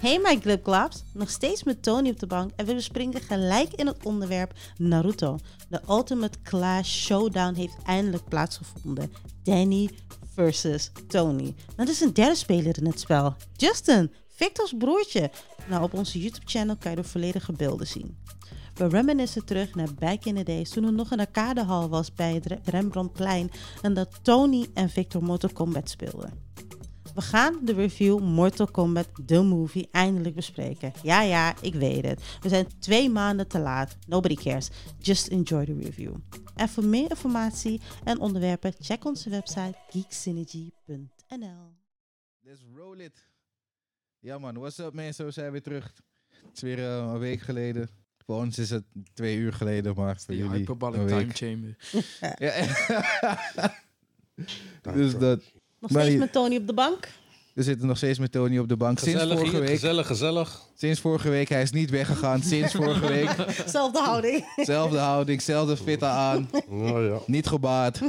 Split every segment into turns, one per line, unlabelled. Hey my glipglaps, nog steeds met Tony op de bank en we bespringen gelijk in het onderwerp Naruto. De Ultimate Clash Showdown heeft eindelijk plaatsgevonden. Danny versus Tony. Dat is een derde speler in het spel. Justin, Victor's broertje. Nou, op onze YouTube channel kan je de volledige beelden zien. We reminiscen terug naar back in the days toen er nog een arcadehal was bij het Re- Rembrandtplein en dat Tony en Victor Mortal Kombat speelden. We gaan de review Mortal Kombat The Movie eindelijk bespreken. Ja, ja, ik weet het. We zijn twee maanden te laat. Nobody cares. Just enjoy the review. En voor meer informatie en onderwerpen, check onze website geeksynergy.nl.
Let's roll it. Ja man, what's up mensen, we zijn weer terug. Het is weer eh, een week geleden. Voor ons is het twee uur geleden, maar voor
Die
jullie
hyperbolic
een
time
week.
chamber.
Ja. dus dat.
Nog
Maar
steeds
die-
met Tony op de bank.
We zitten nog steeds met Tony op de bank. Sinds
Gezellig
vorige,
hier,
week,
gezellig, gezellig.
sinds vorige week, hij is niet weggegaan. Sinds vorige week,
Zelfde houding.
zelfde houding, zelfde fitta aan.
Ja, ja.
Niet gebaat.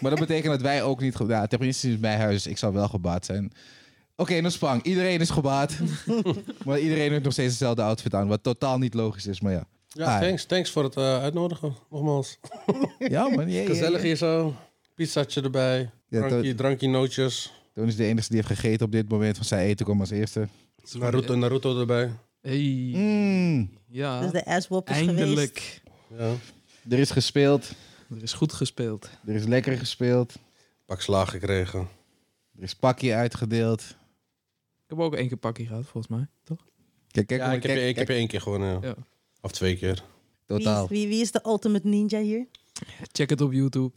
maar dat betekent dat wij ook niet gebaat. Ja, tenminste sinds mijn huis. Ik zou wel gebaat zijn. Oké, dan spang. Iedereen is gebaat. maar iedereen heeft nog steeds dezelfde outfit aan. Wat totaal niet logisch is, maar ja.
ja
Ah.
thanks, thanks voor het eh, uitnodigen, nogmaals.
Ja, man. jee, jee,
Gezellig
jee.
hier zo, pizzaatje erbij,
Ja,
drankje, drankje nootjes,
Toen is de enige die heeft gegeten op dit moment. Van zijn eten kwam als eerste.
Naruto, Naruto erbij.
Hey,
Mm,
ja,
Dus de asswop is geweest.
eindelijk.
Ja.
er is gespeeld.
Er is goed gespeeld.
Er is lekker gespeeld.
Pak slaag gekregen.
Er is pakje uitgedeeld.
Ik heb ook één keer pakkie gehad, volgens mij. Toch?
Kijk, kijk,
Ja,
maar
ik heb,
kijk,
je- ik heb
kijk,
je één keer gewonnen, ja.
Ja.
Of twee keer.
Wie is,
Totaal.
wie, wie is de ultimate ninja hier?
Check het op YouTube.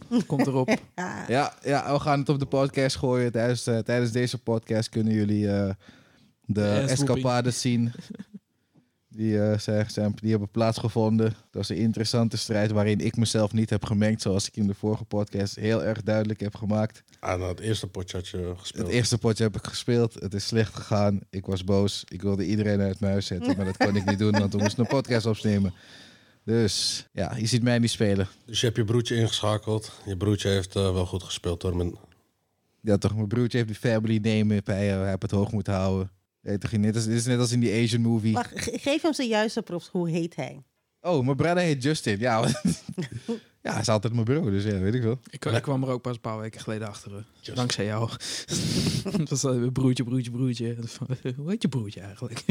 Komt erop.
Ah,
Ja, ja, we gaan het op de podcast gooien. Tijdens, eh, tijdens deze podcast kunnen jullie eh, de
ass-whooping.
escapades zien. Die, eh, zijn, zijn, die hebben plaatsgevonden. Dat was een interessante strijd waarin ik mezelf niet heb gemengd. Zoals ik in de vorige podcast heel erg duidelijk heb gemaakt.
Ah, nou, het eerste potje had je gespeeld.
Het eerste potje heb ik gespeeld. Het is slecht gegaan. Ik was boos. Ik wilde iedereen uit mijn huis zetten. Maar dat kon ik niet doen, want we moesten een podcast opnemen. Dus ja, je ziet mij niet spelen.
Dus je hebt je broertje ingeschakeld. Je broertje heeft eh, wel goed gespeeld, hoor. Met-
Ja, toch, mijn broertje heeft die family name. Hij, hij heeft het hoog moeten houden. Ja, toch, net als, dit is net als in die Asian movie.
wacht, ge- geef hem zijn juiste props. Hoe heet hij?
Oh, mijn brother heet Justin. Ja, want- ja, hij is altijd mijn bro, dus ja, weet ik wel.
Ik, ik kwam er ook pas een paar weken geleden achter. hè. Dankzij jou. Het was eh, broertje, broertje, broertje. Hoe heet je broertje eigenlijk?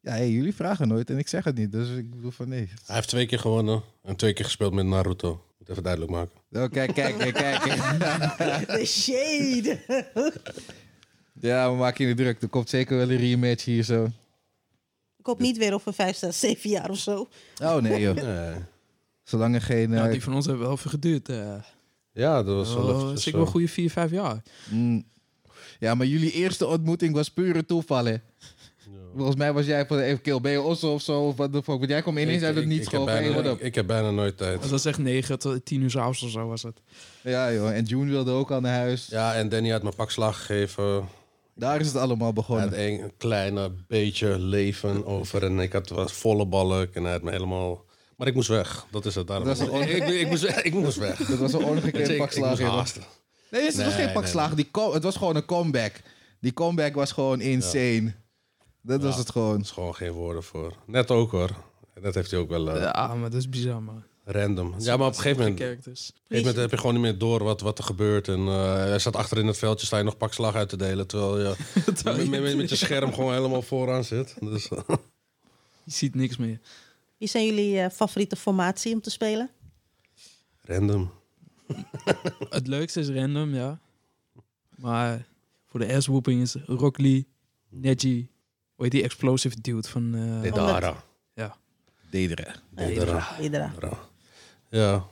Ja, hey, jullie vragen nooit en ik zeg het niet. Dus ik bedoel van nee.
Hij heeft twee keer gewonnen en twee keer gespeeld met Naruto. Moet even duidelijk maken.
Oh, kijk, kijk, kijk, kijk.
De shade.
Ja, we maken je druk. Er komt zeker wel een rematch hier zo.
Ik hoop niet weer over 5, 6, 7 jaar of zo.
Oh nee, joh.
Nee.
Zolang er geen... eh,
Nou, die van ons hebben wel even geduurd. eh.
Ja, dat was wel
Oh,
eventjes,
zeker wel
eh,
goede 4, 5 jaar.
mm. ja, maar jullie eerste ontmoeting was pure toeval, hè? Volgens mij was jij van even kill, ben je osso of zo? Of wat de fuck? Want jij kwam ineens
ik-
uit het
ik-
niets
ik heb
gewoon van, hey,
bijna-
what up?
Ik heb bijna nooit tijd.
Oh,
Het was echt 9 tot 10 uur s'avonds of zo was het.
Ja, joh. En June wilde ook al naar huis.
Ja, en Danny had me pakslag gegeven.
Daar is het allemaal
Hij
begonnen.
had een kleine beetje leven over. En ik had was volle balk. En hij had me helemaal... Maar ik moest weg. Dat is het. Daarom.
Dat is een
ik, ik, ik moest weg. Ik moest weg.
Dat was een
Weet je,
ongekend
ik-
pak
ik moest
slaag, joh.
haasten.
Nee, het was
Nee,
geen pak
nee,
slaag. Die co- het was gewoon een comeback. Die comeback was gewoon insane. Dat was
Ja.
het gewoon.
Er is gewoon geen woorden voor. Net ook hoor. Dat heeft hij ook wel eh,
Ja, maar dat is bizar, man.
random. Ja, maar op een gegeven moment, op een
Characters.
gegeven moment heb je gewoon niet meer door wat, wat er gebeurt. En eh, hij zat achter in het veldje, sta je nog pak slag uit te delen. Terwijl je met, met- met je scherm gewoon helemaal vooraan zit. Dus, eh,
Je ziet niks meer.
Wie zijn jullie eh, favoriete formatie om te spelen?
random.
Het leukste is random, ja. Maar voor de ass-whooping is Rock Lee, Neji. Hoe heet die explosive dude van... eh,
Nee,
Omdat-
Dara.
Dedere.
Eh,
Dedera.
Iedere.
Ja.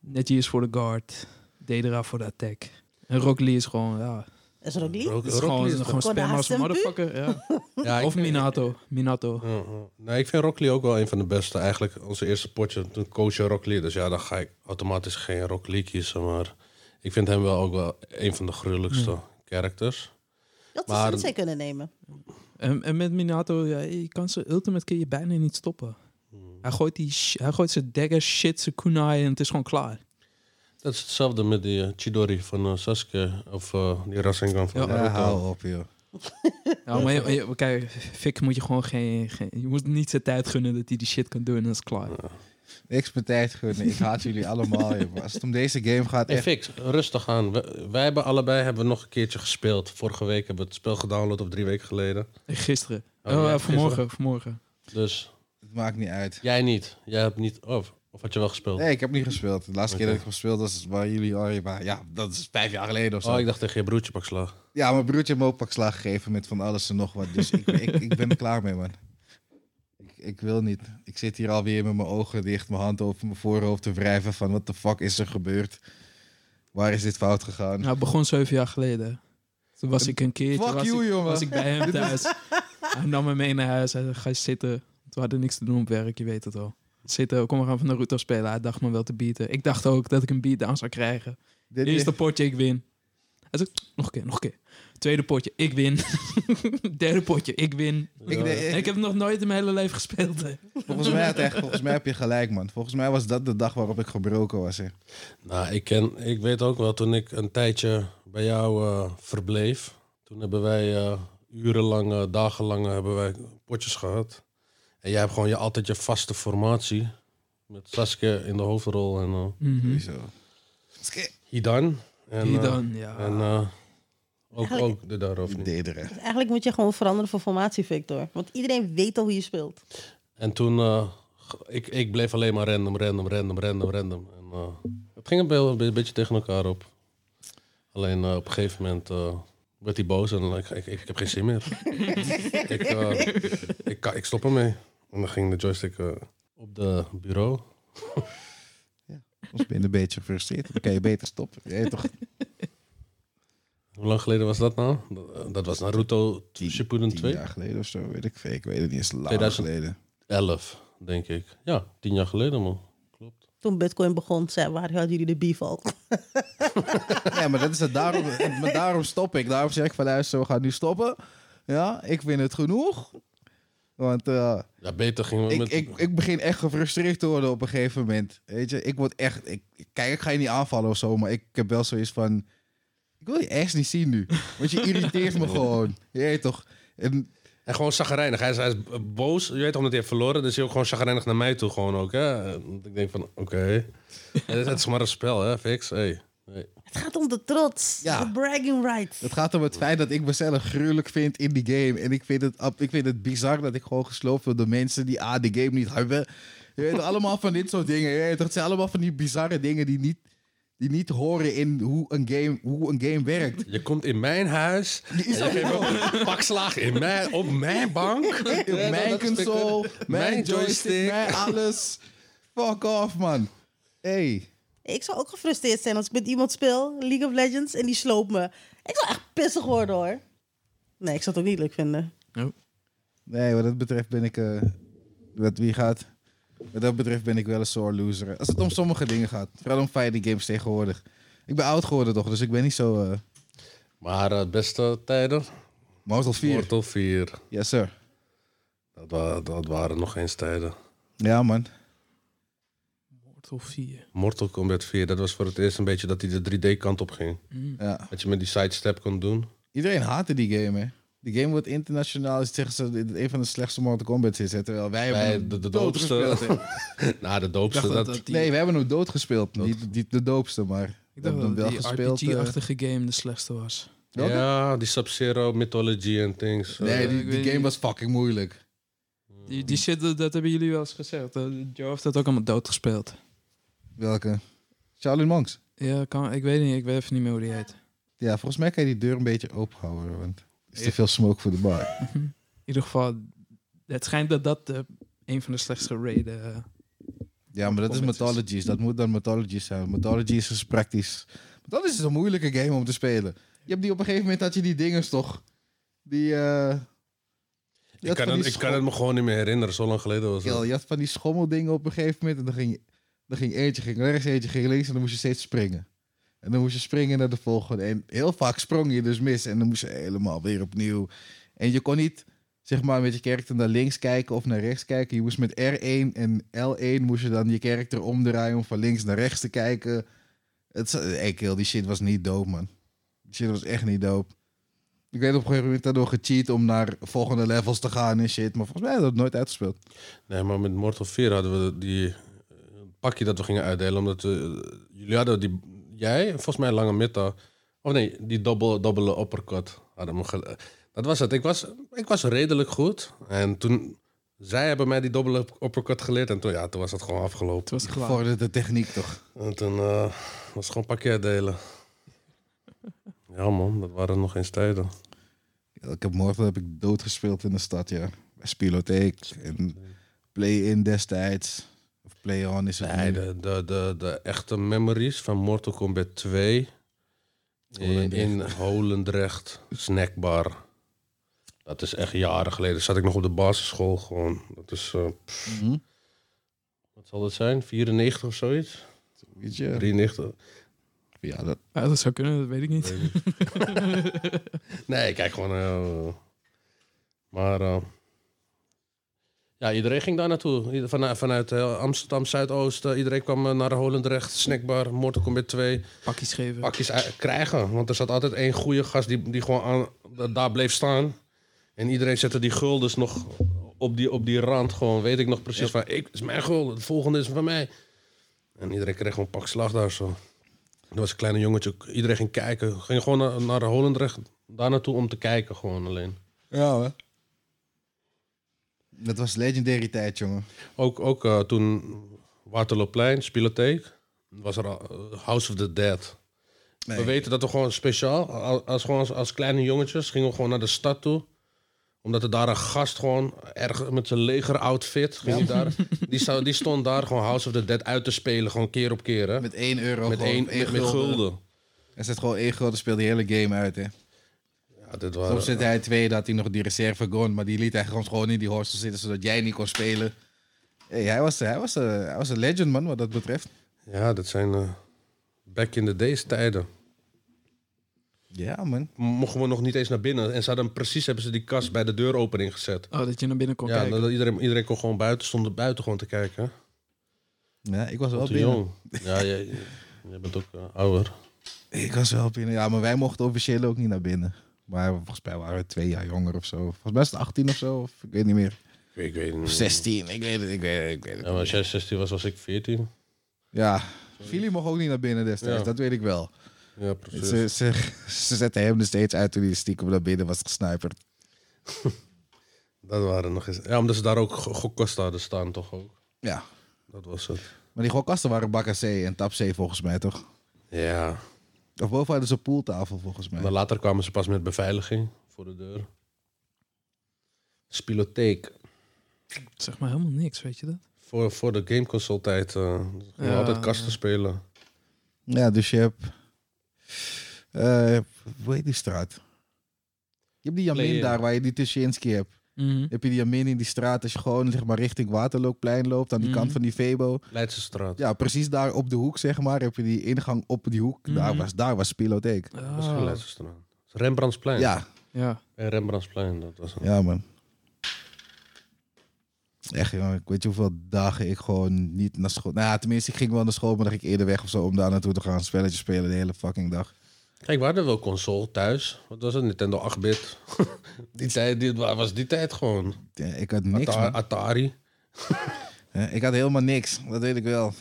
Neji is voor de guard. Dedera voor de attack. En Rock Lee is gewoon, ja...
Is er ook Lee?
Rock-
Het is
Rock
gewoon,
Lee is
gewoon
toch-
spam als een
Kodahasempu?
motherfucker. Ja.
toch- Ja, ik-
Of Minato. Minato.
Ja, ja. Nee, ik vind Rockley ook wel een van de beste. Eigenlijk onze eerste potje, toen coach Rockley. Dus ja, dan ga ik automatisch geen Rockley kiezen. Maar ik vind hem wel ook wel een van de gruwelijkste
Hmm.
characters.
Dat
Maar-
zou Sensei kunnen nemen.
En, en met Minato, ja, je kan ze ultimate kun je bijna niet stoppen. Hij gooit, die sh- hij gooit zijn dagger, shit, zijn kunai en het is gewoon klaar.
Dat is hetzelfde met die eh, Chidori van eh, Sasuke. Of eh, die Rasengan van
Ja.
Ja,
Naruto.
hou op, joh.
Nou, maar je- je- kijk, Fik moet je gewoon geen, geen- Je moet niet zijn tijd gunnen dat hij die shit kan doen en dat is klaar.
Niks met tijd gunnen. Ik haat jullie allemaal. joh. Als het om deze game gaat,
Hey
echt.
Fix, rustig aan. We- wij hebben allebei hebben we nog een keertje gespeeld. Vorige week hebben we het spel gedownload of drie weken geleden.
Gisteren.
Oh,
Oh,
ja,
eh,
gisteren.
vanmorgen, vanmorgen.
Dus
Het maakt niet uit.
jij niet. Jij hebt niet. Of, of had je wel gespeeld?
Nee, ik heb niet gespeeld. De laatste keer
Oké.
dat ik heb gespeeld was waar jullie al waren. Ja, dat is vijf jaar geleden of zo.
Oh, ik dacht tegen je broertje pak slag.
Ja, mijn broertje heeft me ook pak slaag gegeven met van alles en nog wat. Dus ik, ik, ik ben er klaar mee, man. Ik, ik wil niet. Ik zit hier alweer met mijn ogen dicht, mijn hand over mijn voorhoofd te wrijven van wat de fuck is er gebeurd? Waar is dit fout gegaan?
Nou, het begon zeven jaar geleden. Toen was ik een keertje...
Fuck
was
you,
ik,
jongen.
Was ik bij hem thuis. hij nam me mee naar huis. Hij zei, ga zitten. Toen we hadden niks te doen op werk, je weet het al. Zitten, kom maar gaan van Naruto spelen. Hij dacht me wel te beaten. Ik dacht ook dat ik een beatdown zou krijgen.
Dit
Eerste potje, ik win. Hij zei, nog een keer, nog een keer. Tweede potje, ik win. Derde potje, ik win.
ik,
Ja.
En ik heb nog nooit in mijn hele leven gespeeld. hè.
volgens, mij had echt, volgens mij heb je gelijk, man. Volgens mij was dat de dag waarop ik gebroken was. Hè.
Nou, ik, ken, ik weet ook wel, toen ik een tijdje bij jou eh, verbleef, toen hebben wij eh, urenlang, eh, dagenlang hebben wij potjes gehad. En jij hebt gewoon je, altijd je vaste formatie. Met Saskia in de hoofdrol en eh
Mhm.
Zo.
Hidan. En,
Die
eh,
dan, ja.
en eh, ook,
Eigenlijk-
ook de daarover. niet.
Dederen.
Dus eigenlijk moet je gewoon veranderen van formatie, Victor. Want iedereen weet al hoe je speelt.
En toen, eh, g- ik, ik bleef alleen maar random, random, random, random, random. En, eh, het ging een, be- een beetje tegen elkaar op. Alleen eh, op een gegeven moment eh, werd hij boos en ik, ik, ik heb geen zin meer. ik, eh, ik, kan- ik stop ermee. En dan ging de joystick eh, op de bureau.
Soms ben je een beetje gefrustreerd. Dan kan je beter stoppen. Je weet toch?
Hoe lang geleden was dat nou? Dat, dat was Naruto
Tien-
Shippuden
Tien
2?
jaar geleden of zo, weet ik veel. Ik weet het niet. Het is lang
2000.
geleden.
11, denk ik. Ja, tien jaar geleden man. Klopt.
Toen Bitcoin begon, zei, waar hadden jullie de beef al?
Ja, maar dat is het. Daarom, maar daarom stop ik. Daarom zeg ik van luister, we gaan nu stoppen. Ja, ik vind het genoeg. Want eh,
Ja, beter gingen we
ik,
met...
ik, ik begin echt gefrustreerd te worden op een gegeven moment. Weet je, ik word echt... Ik, kijk, ik ga je niet aanvallen of zo, maar ik heb wel zoiets van... Ik wil je echt niet zien nu. Want je irriteert me gewoon. Je weet toch? En
En gewoon zagrijnig. Hij is, hij is boos. Je weet toch, omdat hij heeft verloren. Dus hij is ook gewoon zagrijnig naar mij toe. Gewoon ook, hè? En Ik denk van, oké. En Het is maar een spel, hè, Fix? Hey. Hey.
Het gaat om de trots.
Ja.
De bragging rights.
het gaat om het feit dat ik mezelf gruwelijk vind in die game. En ik vind het, ab- ik vind het bizar dat ik gewoon gesloopt word door mensen die ah, de game niet hebben. Je weet, toch, allemaal van dit soort dingen. Je weet, toch, het zijn allemaal van die bizarre dingen die niet, die niet horen in hoe een game, hoe een game werkt.
Je komt in mijn huis.
Die is
en
ook
je geeft me een pak slaag in mijn, op mijn bank.
op mijn console, mijn
Mijn
joystick,
joystick.
mijn alles. Fuck off, man. Hey.
Ik zou ook gefrustreerd zijn als ik met iemand speel, League of Legends, en die sloopt me. Ik zou echt pissig worden hoor. Nee, ik zou het ook niet leuk vinden.
Nee, wat dat betreft ben ik... eh, wat wie gaat... Wat dat betreft ben ik wel een sore loser. Als het om sommige dingen gaat. Vooral om fighting games tegenwoordig. Ik ben oud geworden toch, dus ik ben niet zo... eh,
Maar eh, beste tijden?
Mortal 4.
Mortal 4.
Yes, sir.
Dat, wa- dat waren nog eens tijden.
Ja, man.
Mortal 4.
Mortal Kombat 4. Dat was voor het eerst een beetje dat hij de 3D-kant op ging.
Mm.
Ja.
Dat je met die sidestep kon doen.
Iedereen haatte die game, hè. Die game wordt internationaal, is zeggen ze, dat het een van de slechtste Mortal Kombat is. Hè? Terwijl wij
Wij
hebben
de- de
dood
doodste.
gespeeld, hè.
Nou, de
Ik
doopste.
dacht dat,
dat,
dat die,
Nee, we hebben hem dood gespeeld.
Dood.
Niet, niet de doopste, maar
ik
we
dacht
hebben
dat
hem wel
die
gespeeld. eh,
RPG-achtige game de slechtste was.
welke?
Ja, die Sub-Zero mythology en things. Eh,
Nee,
Eh,
die,
ik
die
weet
game
niet.
was fucking moeilijk.
Die, die shit, dat, dat hebben jullie wel eens gezegd. Eh, Joe heeft dat ook allemaal doodgespeeld.
Welke? Shaolin Monks.
Ja, kan, ik weet niet. Ik weet even niet meer hoe die heet.
Ja, volgens mij kan je die deur een beetje open houden, want er is te
Ja.
veel smoke voor de bar.
In ieder geval, het schijnt dat dat eh, een van de slechtste raiden... eh,
Ja, maar dat is
Comments.
Mythologies. Dat moet dan Mythologies zijn. Mythologies is dus praktisch. Mythologies is dus een moeilijke game om te spelen. Je hebt die op een gegeven moment had je die dingen toch? Die, eh, je
Ik
had
kan,
van
het,
die
ik kan het me gewoon niet meer herinneren, zo lang geleden was
schommelkill.
het.
Je had van die schommeldingen op een gegeven moment en dan ging, dan ging eentje ging rechts, eentje ging links en dan moest je steeds springen. En dan moest je springen naar de volgende. En heel vaak sprong je dus mis en dan moest je helemaal weer opnieuw. En je kon niet, zeg maar, met je character naar links kijken of naar rechts kijken. Je moest met R1 en L1 moest je dan je character omdraaien om van links naar rechts te kijken. Het, is- hey, kill, die shit was niet dope, man. Die shit was echt niet dope. Ik weet op een gegeven moment daardoor gecheat om naar volgende levels te gaan en shit. Maar volgens mij hebben we dat nooit uitgespeeld.
Nee, maar met Mortal 4 hadden we die eh, pakje dat we gingen uitdelen. Omdat we, jullie hadden die, jij en volgens mij Lange Mitta. Of nee, die dobbel, dobbele uppercut hadden we ge- Dat was het. Ik was, ik was redelijk goed. En toen, zij hebben mij die dobbele uppercut geleerd. En toen, ja, toen was het gewoon
Het
afgelopen.
was klaar.
Gevorderde techniek toch?
En toen eh, was het gewoon pakje uitdelen. Ja man, dat waren nog eens tijden.
Ja, Ik heb Mortal heb ik doodgespeeld in de stad, ja. Bij Spielotheek en Play-In destijds. Of Play-On is het
Nee,
nu.
de, de, de, de echte memories van Mortal Kombat 2 in, in Holendrecht, snackbar. Dat is echt jaren geleden. Zat ik nog op de basisschool gewoon. Dat is, eh,
Mhm.
wat zal dat zijn? 94 of zoiets?
Weet je?
93?
Ja, dat,
Ja, dat zou kunnen, dat weet ik niet.
Nee, ik kijk gewoon. eh, maar. eh, ja, iedereen ging daar naartoe. Ieder- Vanuit, vanuit eh, Amsterdam Zuidoost. eh, iedereen kwam eh, naar Holendrecht, snackbar, Mortal Kombat 2.
Pakjes geven.
pakjes ui- krijgen. Want er zat altijd één goede gast die, die gewoon aan, da- daar bleef staan. En iedereen zette die guldens nog op die, op die rand. Gewoon weet ik nog precies van, ik, het is mijn gulden, het volgende is van mij. En iedereen kreeg gewoon een pak slag daar zo. Er was een kleine jongetje, iedereen ging kijken. Ging gewoon naar, naar Holendrecht, daar naartoe om te kijken gewoon alleen.
ja hoor. Dat was legendary tijd, jongen.
Ook, ook eh, toen Waterloopplein, Spielotheek, was er al, eh, House of the Dead.
Nee.
We weten dat we gewoon speciaal, als, als, gewoon als, als kleine jongetjes, gingen we gewoon naar de stad toe. Omdat er daar een gast gewoon, erg met zijn leger outfit, ging die, daar, die, sta- die stond daar gewoon House of the Dead uit te spelen, gewoon keer op keer. Hè? Met,
Met 1 euro. gewoon,
één,
of
met, met gulden.
Er zit gewoon één gulden, speelde de hele game uit, hè.
Ja, dit waren,
Soms zette hij twee, dat hij nog die reserve gon, maar die liet hij gewoon, gewoon in die hostel zitten, zodat jij niet kon spelen. Hey, hij, was, hij, was, eh, hij was een legend, man, wat dat betreft.
ja, dat zijn eh, back in the days tijden.
Ja, man.
M- Mochten we nog niet eens naar binnen. En ze hadden precies hebben ze die kast bij de deuropening gezet.
Oh, dat je naar binnen kon
Ja,
kijken.
dat iedereen, iedereen kon gewoon buiten, stonden buiten gewoon te kijken. hè.
Ja, ik was wel
Te
binnen.
jong. Ja, jij, jij bent ook eh, ouder.
Ik was wel binnen. Ja, maar wij mochten officieel ook niet naar binnen. Maar volgens mij waren we twee jaar jonger of zo. Volgens mij is het 18 of zo, of ik weet niet meer.
Ik weet, ik weet
Of
niet.
16, ik weet het, ik weet het, ik weet
Ja,
het.
maar als jij 16 was, was ik 14.
Ja, Fili mocht ook niet naar binnen destijds,
Ja.
dat weet ik wel.
Ja,
Ze, ze, ze zetten hem er steeds uit toen hij stiekem naar binnen was gesniperd.
Dat waren nog eens. Ja, omdat ze daar ook go- gokkasten hadden staan, toch ook.
Ja,
Dat was het.
maar die gokkasten waren Bakka C en Tap C volgens mij, toch?
Ja.
Of boven hadden ze een poeltafel volgens mij.
Maar later kwamen ze pas met beveiliging voor de deur. Spielotheek.
Zeg maar helemaal niks, weet je dat?
Voor, voor de gameconsole tijd. eh gingen we
Ja,
altijd kasten spelen.
Ja, dus je hebt... eh, hoe heet die straat? Je hebt die Jamin
Play-in.
daar waar je die Tuschinski hebt.
Mhm.
Heb je die Jamin in die straat als je gewoon zeg maar, richting Waterloopplein loopt, aan die
Mhm.
kant van die Febo.
Leidse straat.
Ja, precies daar op de hoek zeg maar, heb je die ingang op die hoek. Daar
Mhm.
was, daar was Spielotheek.
Dat is geen
Ah,
Leidse straat. Het is Rembrandtsplein.
Ja,
ja.
En Rembrandtsplein, dat was het.
ja man. Echt jongen, ik weet je hoeveel dagen ik gewoon niet naar school... Nou ja, tenminste, ik ging wel naar school, maar dan ging ik eerder weg of zo om daar naartoe te gaan. Spelletjes spelen de hele fucking dag.
Kijk, we hadden wel console thuis. Wat was het? Nintendo 8-bit. die tijd, die, waar was die tijd gewoon.
Ja, ik had niks,
Ata-
man.
Atari.
Hè, Ik had helemaal niks, dat weet ik wel.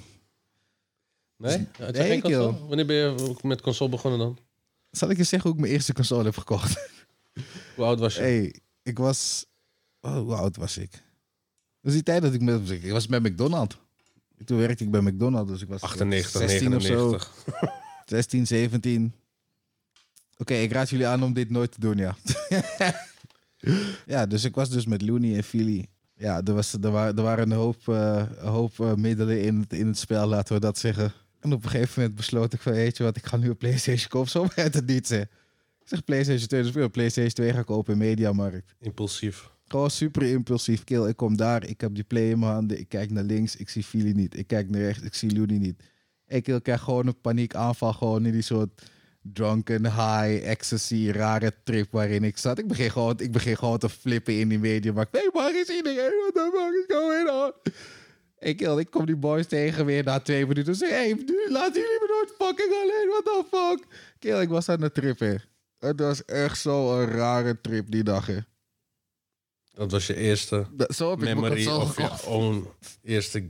Nee? Ja, het is
Nee,
geen console.
joh.
Wanneer ben je met console begonnen dan?
Zal ik je zeggen hoe ik mijn eerste console heb gekocht?
Hoe oud was je?
hey, ik was... Oh, hoe oud was ik? Dat is die tijd dat ik met... Ik was met McDonald's. Toen werkte ik bij McDonald's, dus ik was
98,
16 of zo.
99.
16, 17. Oké, ik raad jullie aan om dit nooit te doen, ja. ja, dus ik was dus met Looney en Philly. Ja, er, was, er, wa- er waren een hoop, eh, een hoop eh, middelen in het, in het spel, laten we dat zeggen. En op een gegeven moment besloot ik van, weet je wat, ik ga nu een PlayStation kopen. Zo werd het niet, hè. Ik zeg PlayStation 2, dus ik wil een PlayStation 2 gaan kopen in Mediamarkt.
Impulsief.
Gewoon super impulsief. Kill, ik kom daar, ik heb die play in mijn handen. Ik kijk naar links, ik zie Fili niet. Ik kijk naar rechts, ik zie Looney niet. Ik kill, krijg gewoon een paniekaanval. Gewoon in die soort drunken, high, ecstasy, rare trip waarin ik zat. Ik begin gewoon, ik begin gewoon te flippen in die media. Maar nee, waar is iedereen? What the fuck is going on? Ik, kill, ik kom die boys tegen weer na twee minuten. Ze hey, nu laten jullie me nooit fucking alleen. What the fuck? Kill, ik was aan het trippen.
Het was echt zo'n rare trip die dag, hè.
Dat was je eerste
Dat, zo heb ik mijn
memory
console
of je
gekocht.
own eerste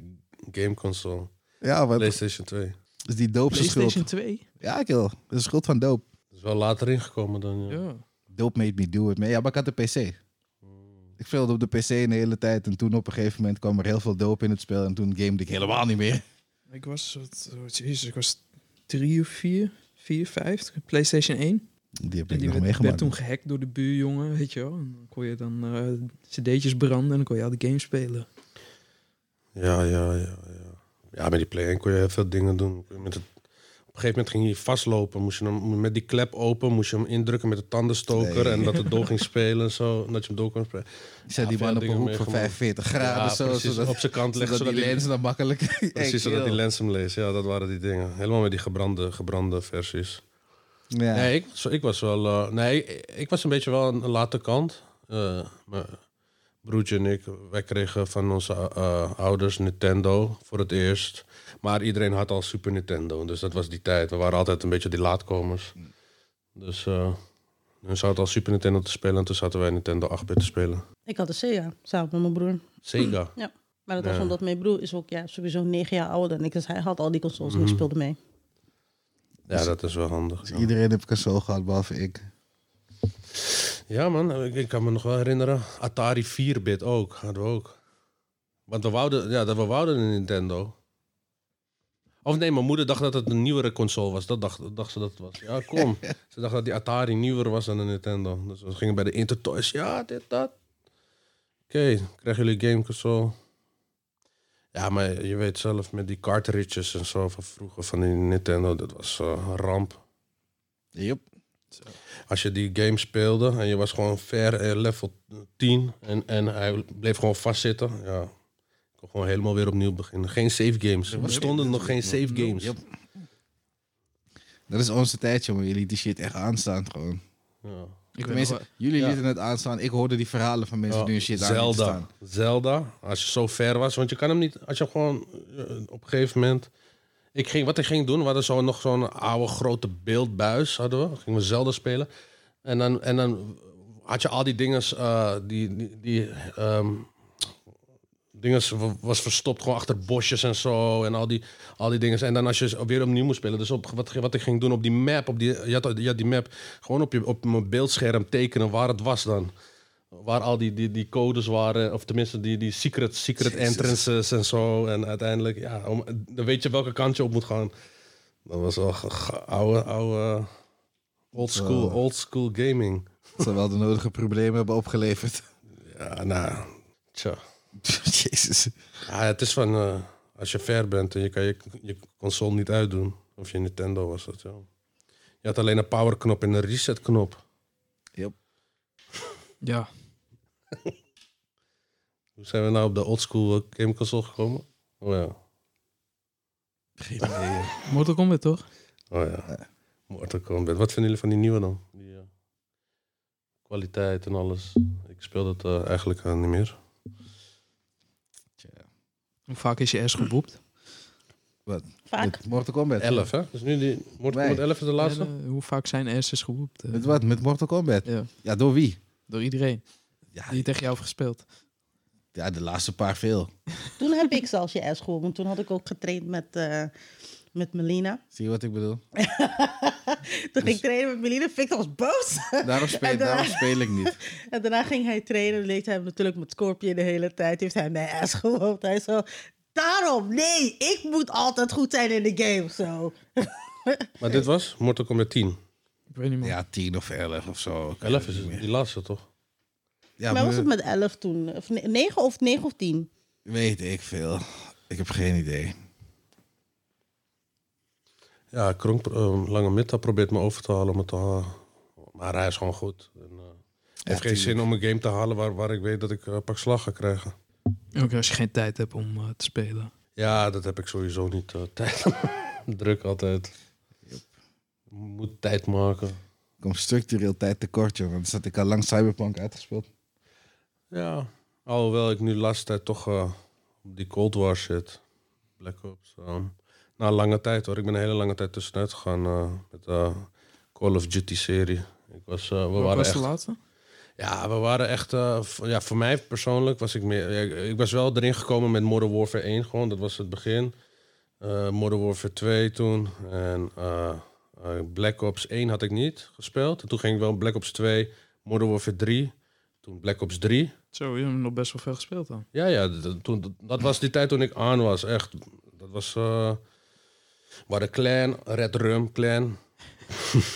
gameconsole.
Ja, wat
PlayStation 2.
Is die doop zijn schuld?
PlayStation 2?
Ja, kill. Dat is de schuld van doop.
Dat is wel later ingekomen dan, ja.
Ja.
Dope made me do it. man. Ja, maar ik had de PC. Ik speelde op de PC een hele tijd. En toen op een gegeven moment kwam er heel veel dope in het spel. En toen gamede ik helemaal niet meer.
Ik was, wat- oh, jezus, ik was drie of vier, vier, vijf, PlayStation 1.
Die heb
En
ik nog
die werd, werd
meegemaakt.
toen gehackt door de buurjongen, weet je wel. En dan kon je dan eh, cd'tjes branden en dan kon je al de games spelen.
Ja, ja, ja, ja. Ja, met die Play 1 kon je heel veel dingen doen. Met het, op een gegeven moment ging hij vastlopen. Moest je hem met die klep open, moest je hem indrukken met de tandenstoker.
Nee.
En dat het door ging spelen en zo. En dat je hem door kon spelen.
Ik zet
Ja,
die
veel
man op een
dingen
hoek van
meegemaakt.
45 graden.
Ja,
zo,
precies,
zodat,
op zijn kant leggen.
zodat
Zodat
die
die-
lens dan makkelijk... Hey,
Precies, zodat die
kill.
lens hem leest. Ja, dat waren die dingen. Helemaal met die gebrande, gebrande versies.
Ja.
Nee, ik, was- ik was wel... eh, nee, ik was een beetje wel een, een late kant. Eh, mijn broertje en ik, wij kregen van onze eh, ouders Nintendo voor het eerst. Maar iedereen had al Super Nintendo, dus dat was die tijd. We waren altijd een beetje die laatkomers. Dus eh hun zaten al Super Nintendo te spelen en toen zaten wij Nintendo 8-bit te spelen.
Ik had een Sega, samen met mijn broer.
Sega.
Maar dat was
Ja.
omdat mijn broer is ook ja, sowieso negen jaar ouder dan ik. Dus hij had al die consoles en ik
Mhm.
speelde mee.
Ja, dat is wel handig.
Dus
ja.
iedereen heeft console gehad, behalve ik.
Ja, man, ik, ik kan me nog wel herinneren. Atari 4-bit ook, hadden we ook. Want we wouden, ja, dat we wouden een Nintendo. Of nee, mijn moeder dacht dat het een nieuwere console was. Dat dacht, dacht ze dat het was. Ja, kom. ze dacht dat die Atari nieuwer was dan een Nintendo. Dus we gingen bij de Intertoys. Ja, dit, dat. Oké, krijgen jullie gameconsole. Ja, maar je weet zelf, met die cartridges en zo van vroeger van die Nintendo, dat was eh, een ramp
Yep.
als je die game speelde en je was gewoon ver eh, level 10 en, en hij bleef gewoon vastzitten, ja, ik kon gewoon helemaal weer opnieuw beginnen. Geen save games. Er stonden nog geen save games.
Yep. Dat is onze tijd, jongen. Jullie die shit echt aanstaan gewoon.
Ja.
Ik weet
Mensen,
nog wel-
jullie
ja.
lieten het aanstaan. Ik hoorde die verhalen van mensen
Ja,
die nu shit aan lieten
Zelda.
staan.
Zelda, als je zo ver was, want je kan hem niet, als je hem gewoon eh, op een gegeven moment. Ik ging, wat ik ging doen, we hadden zo, nog zo'n oude grote beeldbuis, hadden we. Gingen we Zelda spelen. En dan, en dan had je al die dingen, eh, die, die, die ehm, dinges wa- was verstopt gewoon achter bosjes en zo en al die, al die dingen. En dan als je ze weer opnieuw moest spelen, dus op, wat, wat ik ging doen op die map, op die, je, had, je had die map gewoon op, je, op mijn beeldscherm tekenen waar het was dan. Waar al die, die, die codes waren, of tenminste die, die secret, secret
Jezus.
entrances en zo. En uiteindelijk, ja, om, dan weet je welke kant je op moet gaan. Dat was wel ge- ge- oude, oude eh, old school,
Oh.
old school gaming.
Dat zal wel de nodige problemen hebben opgeleverd.
Ja, nou, tja.
Jezus.
Ja, het is van, eh, als je ver bent en je kan je, je console niet uitdoen. Of je Nintendo was dat, ja. Je had alleen een powerknop en een resetknop.
Ja,
Hoe zijn we nou op de oldschool eh, gameconsole gekomen? Oh ja,
Geen idee.
Mortal Kombat toch?
oh ja. Mortal Kombat. Wat vinden jullie van die nieuwe dan? Die eh, kwaliteit en alles. Ik speel dat eh, eigenlijk eh, niet meer.
Hoe vaak is je S geboept?
Vaak.
Met Mortal Kombat.
11, hè? Dus nu die Mortal
Nee.
Kombat 11 is de laatste?
En, eh, hoe vaak zijn S's geboept? eh,
Met wat? Met Mortal Kombat?
Ja,
Ja, door wie?
door iedereen
Ja,
die tegen jou heeft gespeeld.
ja, de laatste paar veel.
Toen heb ik zelfs je ass gehoord. Want toen had ik ook getraind met, eh, met Melina.
Zie je wat ik bedoel?
Toen ging ik trainen met Melina. Victor was boos.
Daarom speel,
En, eh,
daarom speel ik niet.
En daarna ging hij trainen. Leed hij hem natuurlijk met Scorpion de hele tijd. Heeft hij mijn ass gehoord. Hij zo... Daarom, nee, ik moet altijd goed zijn in de game. Zo.
Maar dit was Mortal Kombat 10.
Ik weet niet meer.
Ja, 10 of 11 of zo. Ik weet
11
het
is
niet meer.
die laatste, toch?
Ja,
maar
maar
was het met 11 toen? Of 9 of 9 of 10?
weet ik veel. Ik heb geen idee.
Ja, Kronk, eh, Lange Mitta probeert me over te halen om het te halen. Maar hij is gewoon goed. En, eh, het heeft geen
tuurlijk.
zin om een game te halen waar, waar ik weet dat ik eh, een pak slag ga krijgen.
Ook als je geen tijd hebt om eh, te spelen.
Ja, dat heb ik sowieso niet. eh, tijd. Druk altijd. Moet tijd maken.
Ik kom structureel tijd tekort, joh. Want dan had ik al lang Cyberpunk uitgespeeld.
Ja. Alhoewel ik nu de laatste tijd toch eh, op die Cold War zit. Black Ops. ehm. na lange tijd hoor. Ik ben een hele lange tijd tussenuit gegaan eh, met de Call of eh, Duty serie. Ik Ik was, eh, we
Wat
waren
was
echt,
de laatste?
ja, we waren echt, eh, v- ja, voor mij persoonlijk was ik meer, ja, ik- ik was wel erin gekomen met Modern Warfare 1 gewoon, dat was het begin. Eh Modern Warfare 2 toen en eh, eh, Black Ops 1 had ik niet gespeeld. En toen ging ik wel Black Ops 2, Modern Warfare 3, toen Black Ops 3.
Zo, je hebt nog best wel veel gespeeld dan.
Ja, ja, d- d- toen, d- dat was die tijd toen ik aan was, echt. Dat was... eh waar de clan, Red Rum, clan.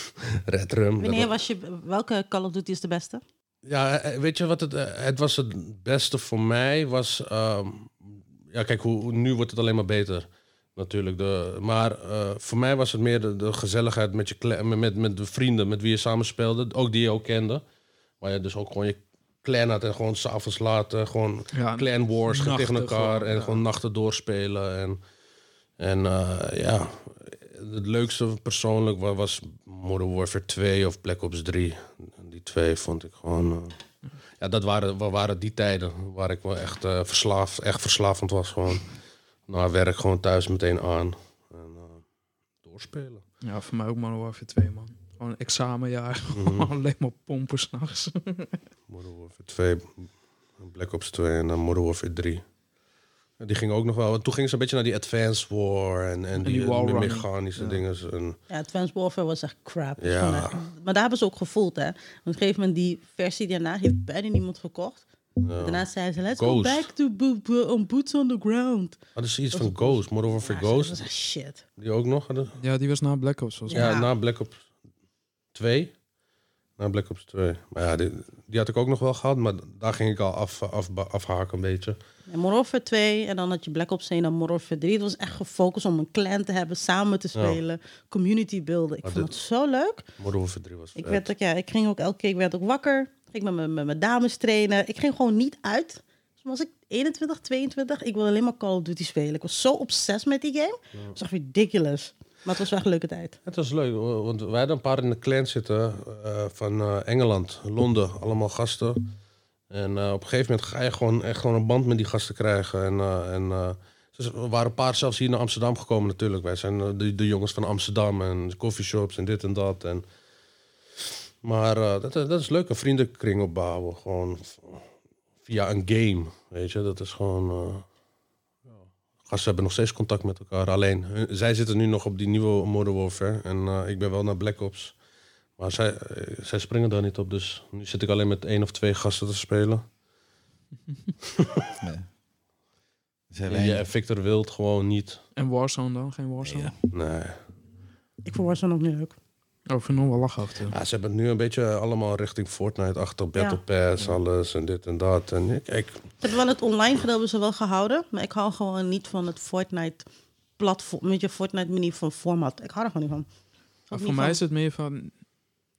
Red Rum. dat
Wanneer
wa-
was je, welke Call of Duty is de beste?
Ja, eh, weet je wat het... eh, Het was het beste voor mij, was... ehm, ja, kijk, hoe, hoe- nu wordt het alleen maar beter. Natuurlijk. De, maar eh, voor mij was het meer de, de gezelligheid met, je clan, met- met, met de vrienden met wie je samen speelde. Ook die je ook kende. Waar je dus ook gewoon je clan had en gewoon s'avonds later gewoon
Ja,
clan wars
Nachten
tegen elkaar
gewoon,
en
ja.
gewoon nachten doorspelen. En, en eh, ja, het leukste persoonlijk wa- was Modern Warfare 2 of Black Ops 3. Die twee vond ik gewoon... eh, ja, dat waren, wa- waren die tijden waar ik wel echt eh, verslaafd, echt verslavend was. Gewoon naar werk, gewoon thuis meteen aan. En eh, doorspelen.
ja, voor mij ook Modern Warfare 2, man. Gewoon examenjaar,
Mhm.
alleen maar pompen s'nachts.
Modern Warfare 2, Black Ops 2 en dan Modern Warfare 3. En Die ging ook nog wel. want Toen ging ze een beetje naar die Advanced War en, en, die,
die wall
me-
running.
mechanische
Ja.
dingen. En,
Ja, Advanced Warfare was echt crap.
Ja.
Gewoon, eh, Maar daar hebben ze ook gevoeld, hè. Want op een gegeven moment, die versie daarna heeft bijna niemand gekocht.
ja.
Daarna zeiden ze, let's
Ghost.
go back to bo- bo- on boots on the ground.
Hadden ze Ah, iets van Ghost, Modern Warfare
Ja, Dat was
Ghost,
echt shit.
die ook nog hadden?
Ja, die was na Black Ops, volgens mij.
Ja,
Ja.
na Black Ops 2. Na Black Ops 2. Maar ja, die, die had ik ook nog wel gehad, maar daar ging ik al af, af, afhaken een beetje.
En Modern Warfare 2, en dan had je Black Ops 1 en dan Modern Warfare 3. Het was echt gefocust om een clan te hebben, samen te spelen, community builden. Ik
Maar
vond
dit-
het zo leuk.
Modern Warfare 3 was
Ik,
vet.
werd ook, ja, ik ging ook elke keer, ik werd ook wakker. Ik ging met mijn- met mijn dames trainen. Ik ging gewoon niet uit. Toen was ik 21, 22. Ik wilde alleen maar Call of Duty spelen. Ik was zo obsessief met die game. Het was echt ridiculous. Maar het was wel echt een leuke tijd.
Het was leuk, wa- want wij hadden een paar in de clan zitten eh, van eh, Engeland, Londen, allemaal gasten. En eh, op een gegeven moment ga je gewoon echt gewoon een band met die gasten krijgen. En, eh, en eh, dus er waren een paar zelfs hier naar Amsterdam gekomen natuurlijk. Wij zijn eh, de, de jongens van Amsterdam en coffeeshops en dit en dat. En, maar eh, dat, dat is leuk, een vriendenkring opbouwen. Gewoon v- via een game, weet je. Dat is gewoon... eh, Gasten hebben nog steeds contact met elkaar. Alleen, hun- zij zitten nu nog op die nieuwe Modern Warfare. En eh, ik ben wel naar Black Ops. Maar zij, eh, zij springen daar niet op. Dus nu zit ik alleen met één of twee gasten te spelen.
Zijn
En
wij-
je en Victor wilt gewoon niet.
En Warzone dan? Geen Warzone?
Ja.
Nee.
Ik vond Warzone ook niet leuk.
Oh, ik vind nog wel lachen af en toe.
Ja, ze hebben het nu een beetje allemaal richting Fortnite achter. Battle Pass, alles en dit en dat. En ik, ik,
Ze hebben wel het online gedeelte ze wel gehouden, maar ik hou gewoon niet van het Fortnite platform, met je Fortnite manier van format. Ik hou er gewoon niet van. Ook
Maar voor
niet
mij
van-
is het meer van...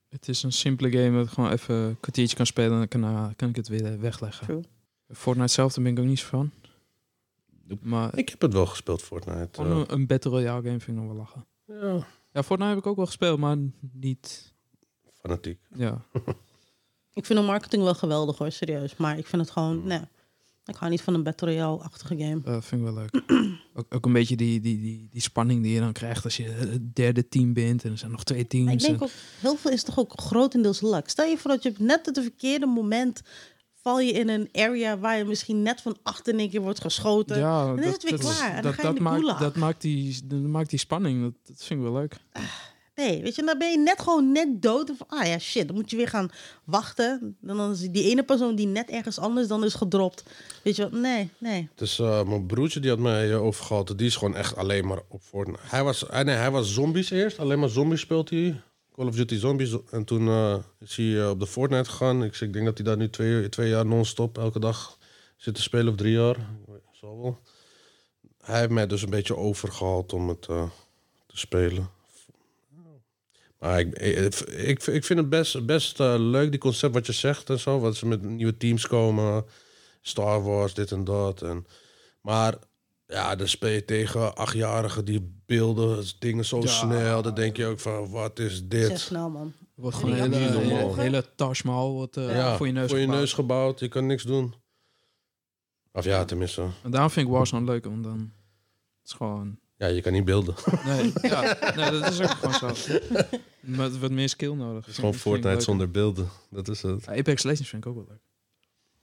Het is een simpele game dat ik gewoon even een kwartiertje kan spelen... en dan kan, eh, kan ik het weer eh, wegleggen.
True.
Fortnite zelf, daar ben ik ook niet zo van.
Nope.
Maar
ik heb het wel gespeeld, Fortnite.
gewoon een, een Battle Royale game vind ik nog wel lachen.
Eh, ja,
Ja, Fortnite heb ik ook wel gespeeld, maar niet...
fanatiek.
Ja,
Ik vind de marketing wel geweldig hoor, serieus. Maar ik vind het gewoon, nee. Ik hou niet van een Battle Royale-achtige game.
dat eh, vind ik wel leuk. ook, ook een beetje die, die, die, die spanning die je dan krijgt als je het derde team bent... en er zijn nog twee teams.
Maar ik denk
en-
ook, heel veel is toch ook grotendeels luck. Stel je voor dat je op net het verkeerde moment val je in een area waar je misschien net van achter in één keer wordt geschoten.
ja,
dan is het weer klaar. En dan ga je in de
maakt,
gulag.
dat, maakt die, dat maakt die spanning, dat, dat vind ik wel leuk.
Nee, weet je, dan ben je net gewoon net dood. Of, ah ja, shit, dan moet je weer gaan wachten. Dan dan is die ene persoon die net ergens anders dan is gedropt. Weet je wat? Nee, nee.
Dus eh, mijn broertje die had mij eh, overgehaald. Die is gewoon echt alleen maar op Fortnite. Hij was, ah, nee, hij was zombies eerst. Alleen maar zombies speelt hij. Call of Duty Zombies. En toen eh, is hij eh, op de Fortnite gegaan. Ik, zeg, ik denk dat hij daar nu twee, twee jaar non-stop elke dag zit te spelen. Of drie jaar. Zal wel. Hij heeft mij dus een beetje overgehaald om het eh, te spelen. Maar ik, ik, ik, ik vind het best, best eh, leuk, die concept wat je zegt en zo. Wat ze met nieuwe teams komen. Star Wars, dit en dat. En, maar ja, dan speel je tegen achtjarigen die beelden dingen zo
Ja.
snel. Dan denk je ook van, wat is
Zeg nou.
dit?
snel, man.
wordt
Jullie
gewoon een hele,
hadden niet
hele,
normaal.
hele Taj Mahal wordt, eh,
Ja,
voor je neus
voor je
gebouwd.
neus gebouwd. Je kan niks doen. Of ja, tenminste.
En daarom vind ik Warzone leuk, want dan het is gewoon...
Ja, je kan niet beelden. Het
Nee, ja, nee, dat is ook gewoon zo. Maar het wordt meer skill nodig.
is gewoon Fortnite zonder beelden. Dat is het.
Apex Legends vind ik ook wel leuk.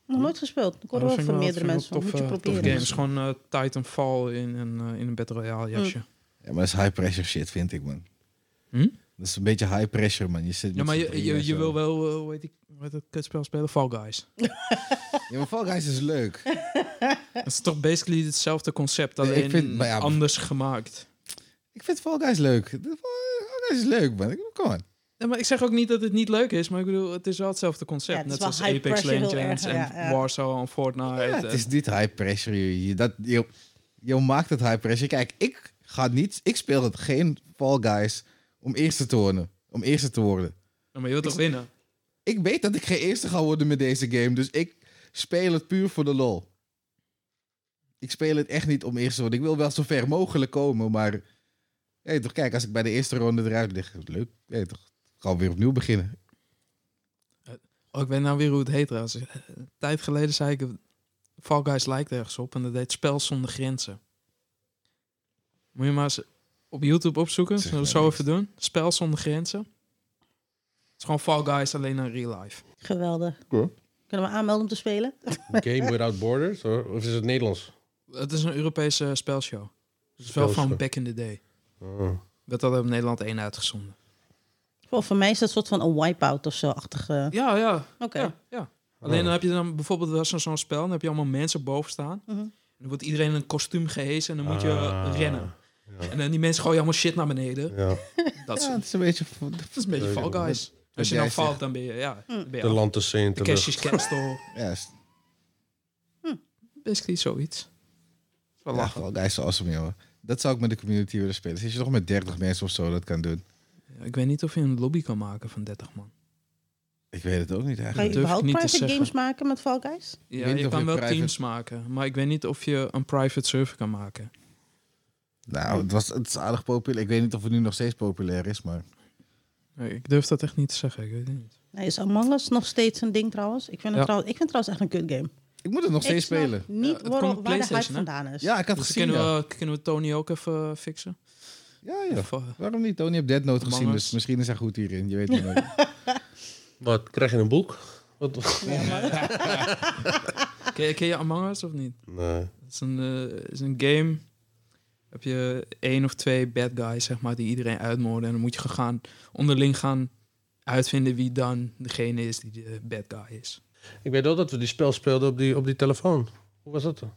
Nog nooit gespeeld. Ik hoor
Hm? Oh,
wel
Dat vind
van
ik wel-
meerdere
vind ik
mensen.
wel
Moet je
tof, eh, tof
proberen.
games. Gewoon eh, Titanfall in een, eh, in een Battle Royale jasje.
Mm.
Ja, maar dat is high pressure shit, vind ik, man.
Hm?
Dat is een beetje high pressure, man. Je zit
Ja,
met
maar
z'n
je,
drieën en
je, je
zo.
wil wel, eh, hoe heet die, hoe heet dat kutspel spelen? Fall Guys.
Ja, maar Fall Guys is leuk.
Het is toch basically hetzelfde concept, alleen
Nee, ik vind- maar ja,
anders gemaakt.
ik vind Fall Guys leuk. De Fall Fall Guys is leuk, man. Ik bedoel, Come on.
Ja, maar ik zeg ook niet dat het niet leuk is, maar ik bedoel, het is wel hetzelfde concept.
Ja, het is
Net
wel
als
high
Apex
pressure, heel
Legends en
erg, ja, ja.
Warzone en Fortnite.
Ja,
eh,
het is niet high pressure. Je, je- dat, je, je maakt het high pressure. Kijk, ik ga niet... Ik speel het geen Fall Guys om eerste te worden. Om eerste te worden.
maar je wilt toch winnen?
Ik weet dat ik geen eerste ga worden met deze game. Dus ik speel het puur voor de lol. Ik speel het echt niet om eerste te worden. Ik wil wel zo ver mogelijk komen, maar... Hey, toch, kijk, als ik bij de eerste ronde eruit lig... Leuk, hey, toch, gaan we weer opnieuw beginnen.
Oh, ik weet nou weer hoe het heet trouwens. Eh, Een tijd geleden zei ik, Fall Guys lijkt ergens op en dat heet Spel zonder grenzen. Moet je maar eens op YouTube opzoeken,
Zeg
zullen we
mij
zo
niks.
even doen. Spel zonder grenzen. Het is gewoon Fall Guys alleen in real life.
Geweldig.
Cool.
Kunnen we aanmelden om te spelen?
Game Without Borders? Of of is het Nederlands?
Het is een Europese eh, spelshow. Het is wel van
Spelshow.
back in the day.
Oh.
Werd dat op Nederland 1 uitgezonden.
Voor, voor mij is dat een soort van een wipe-out of zo. Achtige...
Ja, ja.
Oké.
ja, ja. Alleen dan heb je dan bijvoorbeeld wel zo'n zo'n spel. Dan heb je allemaal mensen boven staan.
Mhm.
En dan wordt iedereen in een kostuum gehezen. En dan moet je
Ah.
rennen. En dan die mensen gooien allemaal shit naar beneden.
Ja,
Dat,
Ja,
is,
het is een beetje... van-
dat is een beetje Fall Guys. Als je
jij
dan
zegt.
valt, dan ben je... Ja, dan ben je
de
af.
land te zee in
De
te lucht.
Cash's Castle.
Ja, is-
Basically zoiets. Dat is wel
Ja,
lachen.
Fall Guys is awesome, joh. Dat zou ik met de community willen spelen. Dus als je nog met 30 mensen of zo dat kan doen.
Ja, ik weet niet of je een lobby kan maken van 30 man.
Ik weet het ook niet
Ga
eigenlijk.
je
durf ik
überhaupt
niet te
private
zeggen.
games maken met Fall Guys?
Ja,
weet niet
je
of
kan
je
wel
private-
teams maken. Maar ik weet niet of je een private server kan maken.
Nou, het, was, het is aardig populair. Ik weet niet of het nu nog steeds populair is, maar...
Nee, ik durf dat echt niet te zeggen. Ik weet het niet.
Nee, is Among Us nog steeds een ding trouwens? Ik vind, het
Ja.
trouwens, ik vind het trouwens echt een kut game.
Ik moet het nog steeds
ik snap
spelen.
Ja,
niet
het
waarom-
komt op
waar de hype
PlayStation, hè?
vandaan is.
Ja, ik had het
Dus
gezien.
kunnen,
Ja,
we, kunnen we Tony ook even eh, fixen?
ja. ja.
Of, eh,
Waarom niet? Tony heeft Dead Note
Among
gezien,
Us.
dus misschien is hij goed hierin. Je weet het nooit.
Wat, krijg je een boek? Wat?
ken, ken je Among Us of niet?
Nee.
Het is een, eh, is een game. Heb je één of twee bad guys, zeg maar, die iedereen uitmoorden. En dan moet je gaan, onderling gaan uitvinden wie dan degene is die de bad guy is.
Ik weet wel dat we die spel speelden op die, op die telefoon. Hoe was dat dan?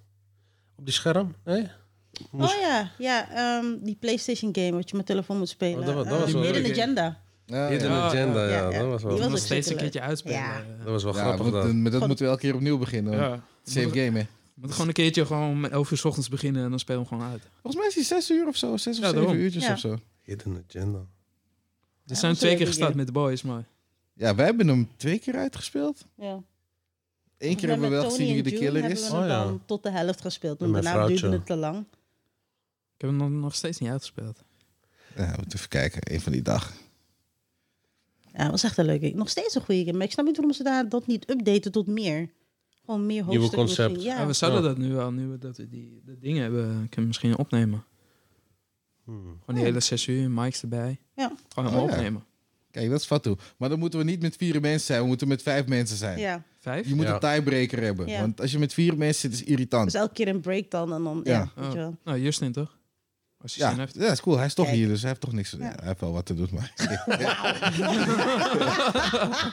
Op die scherm? Nee? Moest-
Oh ja, ja ehm, die PlayStation game wat je met telefoon moet spelen.
Oh, dat wa- dat
Eh,
was
wel
Hidden
leuk.
Agenda.
Ja, ja.
Hidden
Ja,
ja,
Agenda, ja.
ja.
Dat was wel,
Die was
Nog
ook
steeds een
zeker
keertje uitspelen.
Ja.
dat was wel
Ja,
grappig.
moet-
dat.
met dat
Goed.
moeten we elke keer opnieuw beginnen. hoor.
Ja.
Same
Moet-
game, hè.
moet gewoon een keertje gewoon om 11 uur s ochtends beginnen en dan spelen we gewoon uit.
Volgens mij is hij zes uur of zo. Zes of
Ja,
zeven
daarom.
uurtjes
Ja.
of zo.
Hidden Agenda.
Er
dat is
zijn twee
een
keer
leuke
gestart
game.
met de boys, maar
Ja, wij hebben hem twee keer uitgespeeld.
Ja.
Eén keer hebben we wel gezien wie de killer is.
We
Oh,
hebben
ja.
dan tot de helft gespeeld.
En
Toen
mijn
daarna duurde
vrouwtje.
het te lang.
ik heb hem nog, nog steeds niet uitgespeeld.
Ja, we moeten even kijken. Eén van die dagen.
Ja, dat was echt een leuke game. Nog steeds een goede game. Maar ik snap niet waarom ze daar dat niet updaten tot meer. Gewoon meer
Nieuwe
hoofdstukken.
concept.
misschien.
Ja,
Ja.
we zouden
Ja.
dat nu wel, nu we dat we die de dingen hebben, kunnen we misschien opnemen.
Hmm.
Gewoon die hele zes uur, mics erbij.
Ja.
Gewoon
Oh,
hem
ja.
opnemen.
Kijk, dat is Fatou. Maar dan moeten we niet met vier mensen zijn. We moeten met vijf mensen zijn.
ja.
Vijf?
Je moet
Ja.
een tiebreaker hebben.
Ja.
Want als je met vier mensen zit, is het irritant.
Dus elke keer een break dan en dan. Ja.
Ja.
weet je wel.
Nou, Justin toch? Als je
Ja,
zin
ja,
heeft.
dat is cool. Hij is toch
Kijk.
hier, dus hij heeft toch niks.
Ja.
Hij heeft wel wat te doen, maar.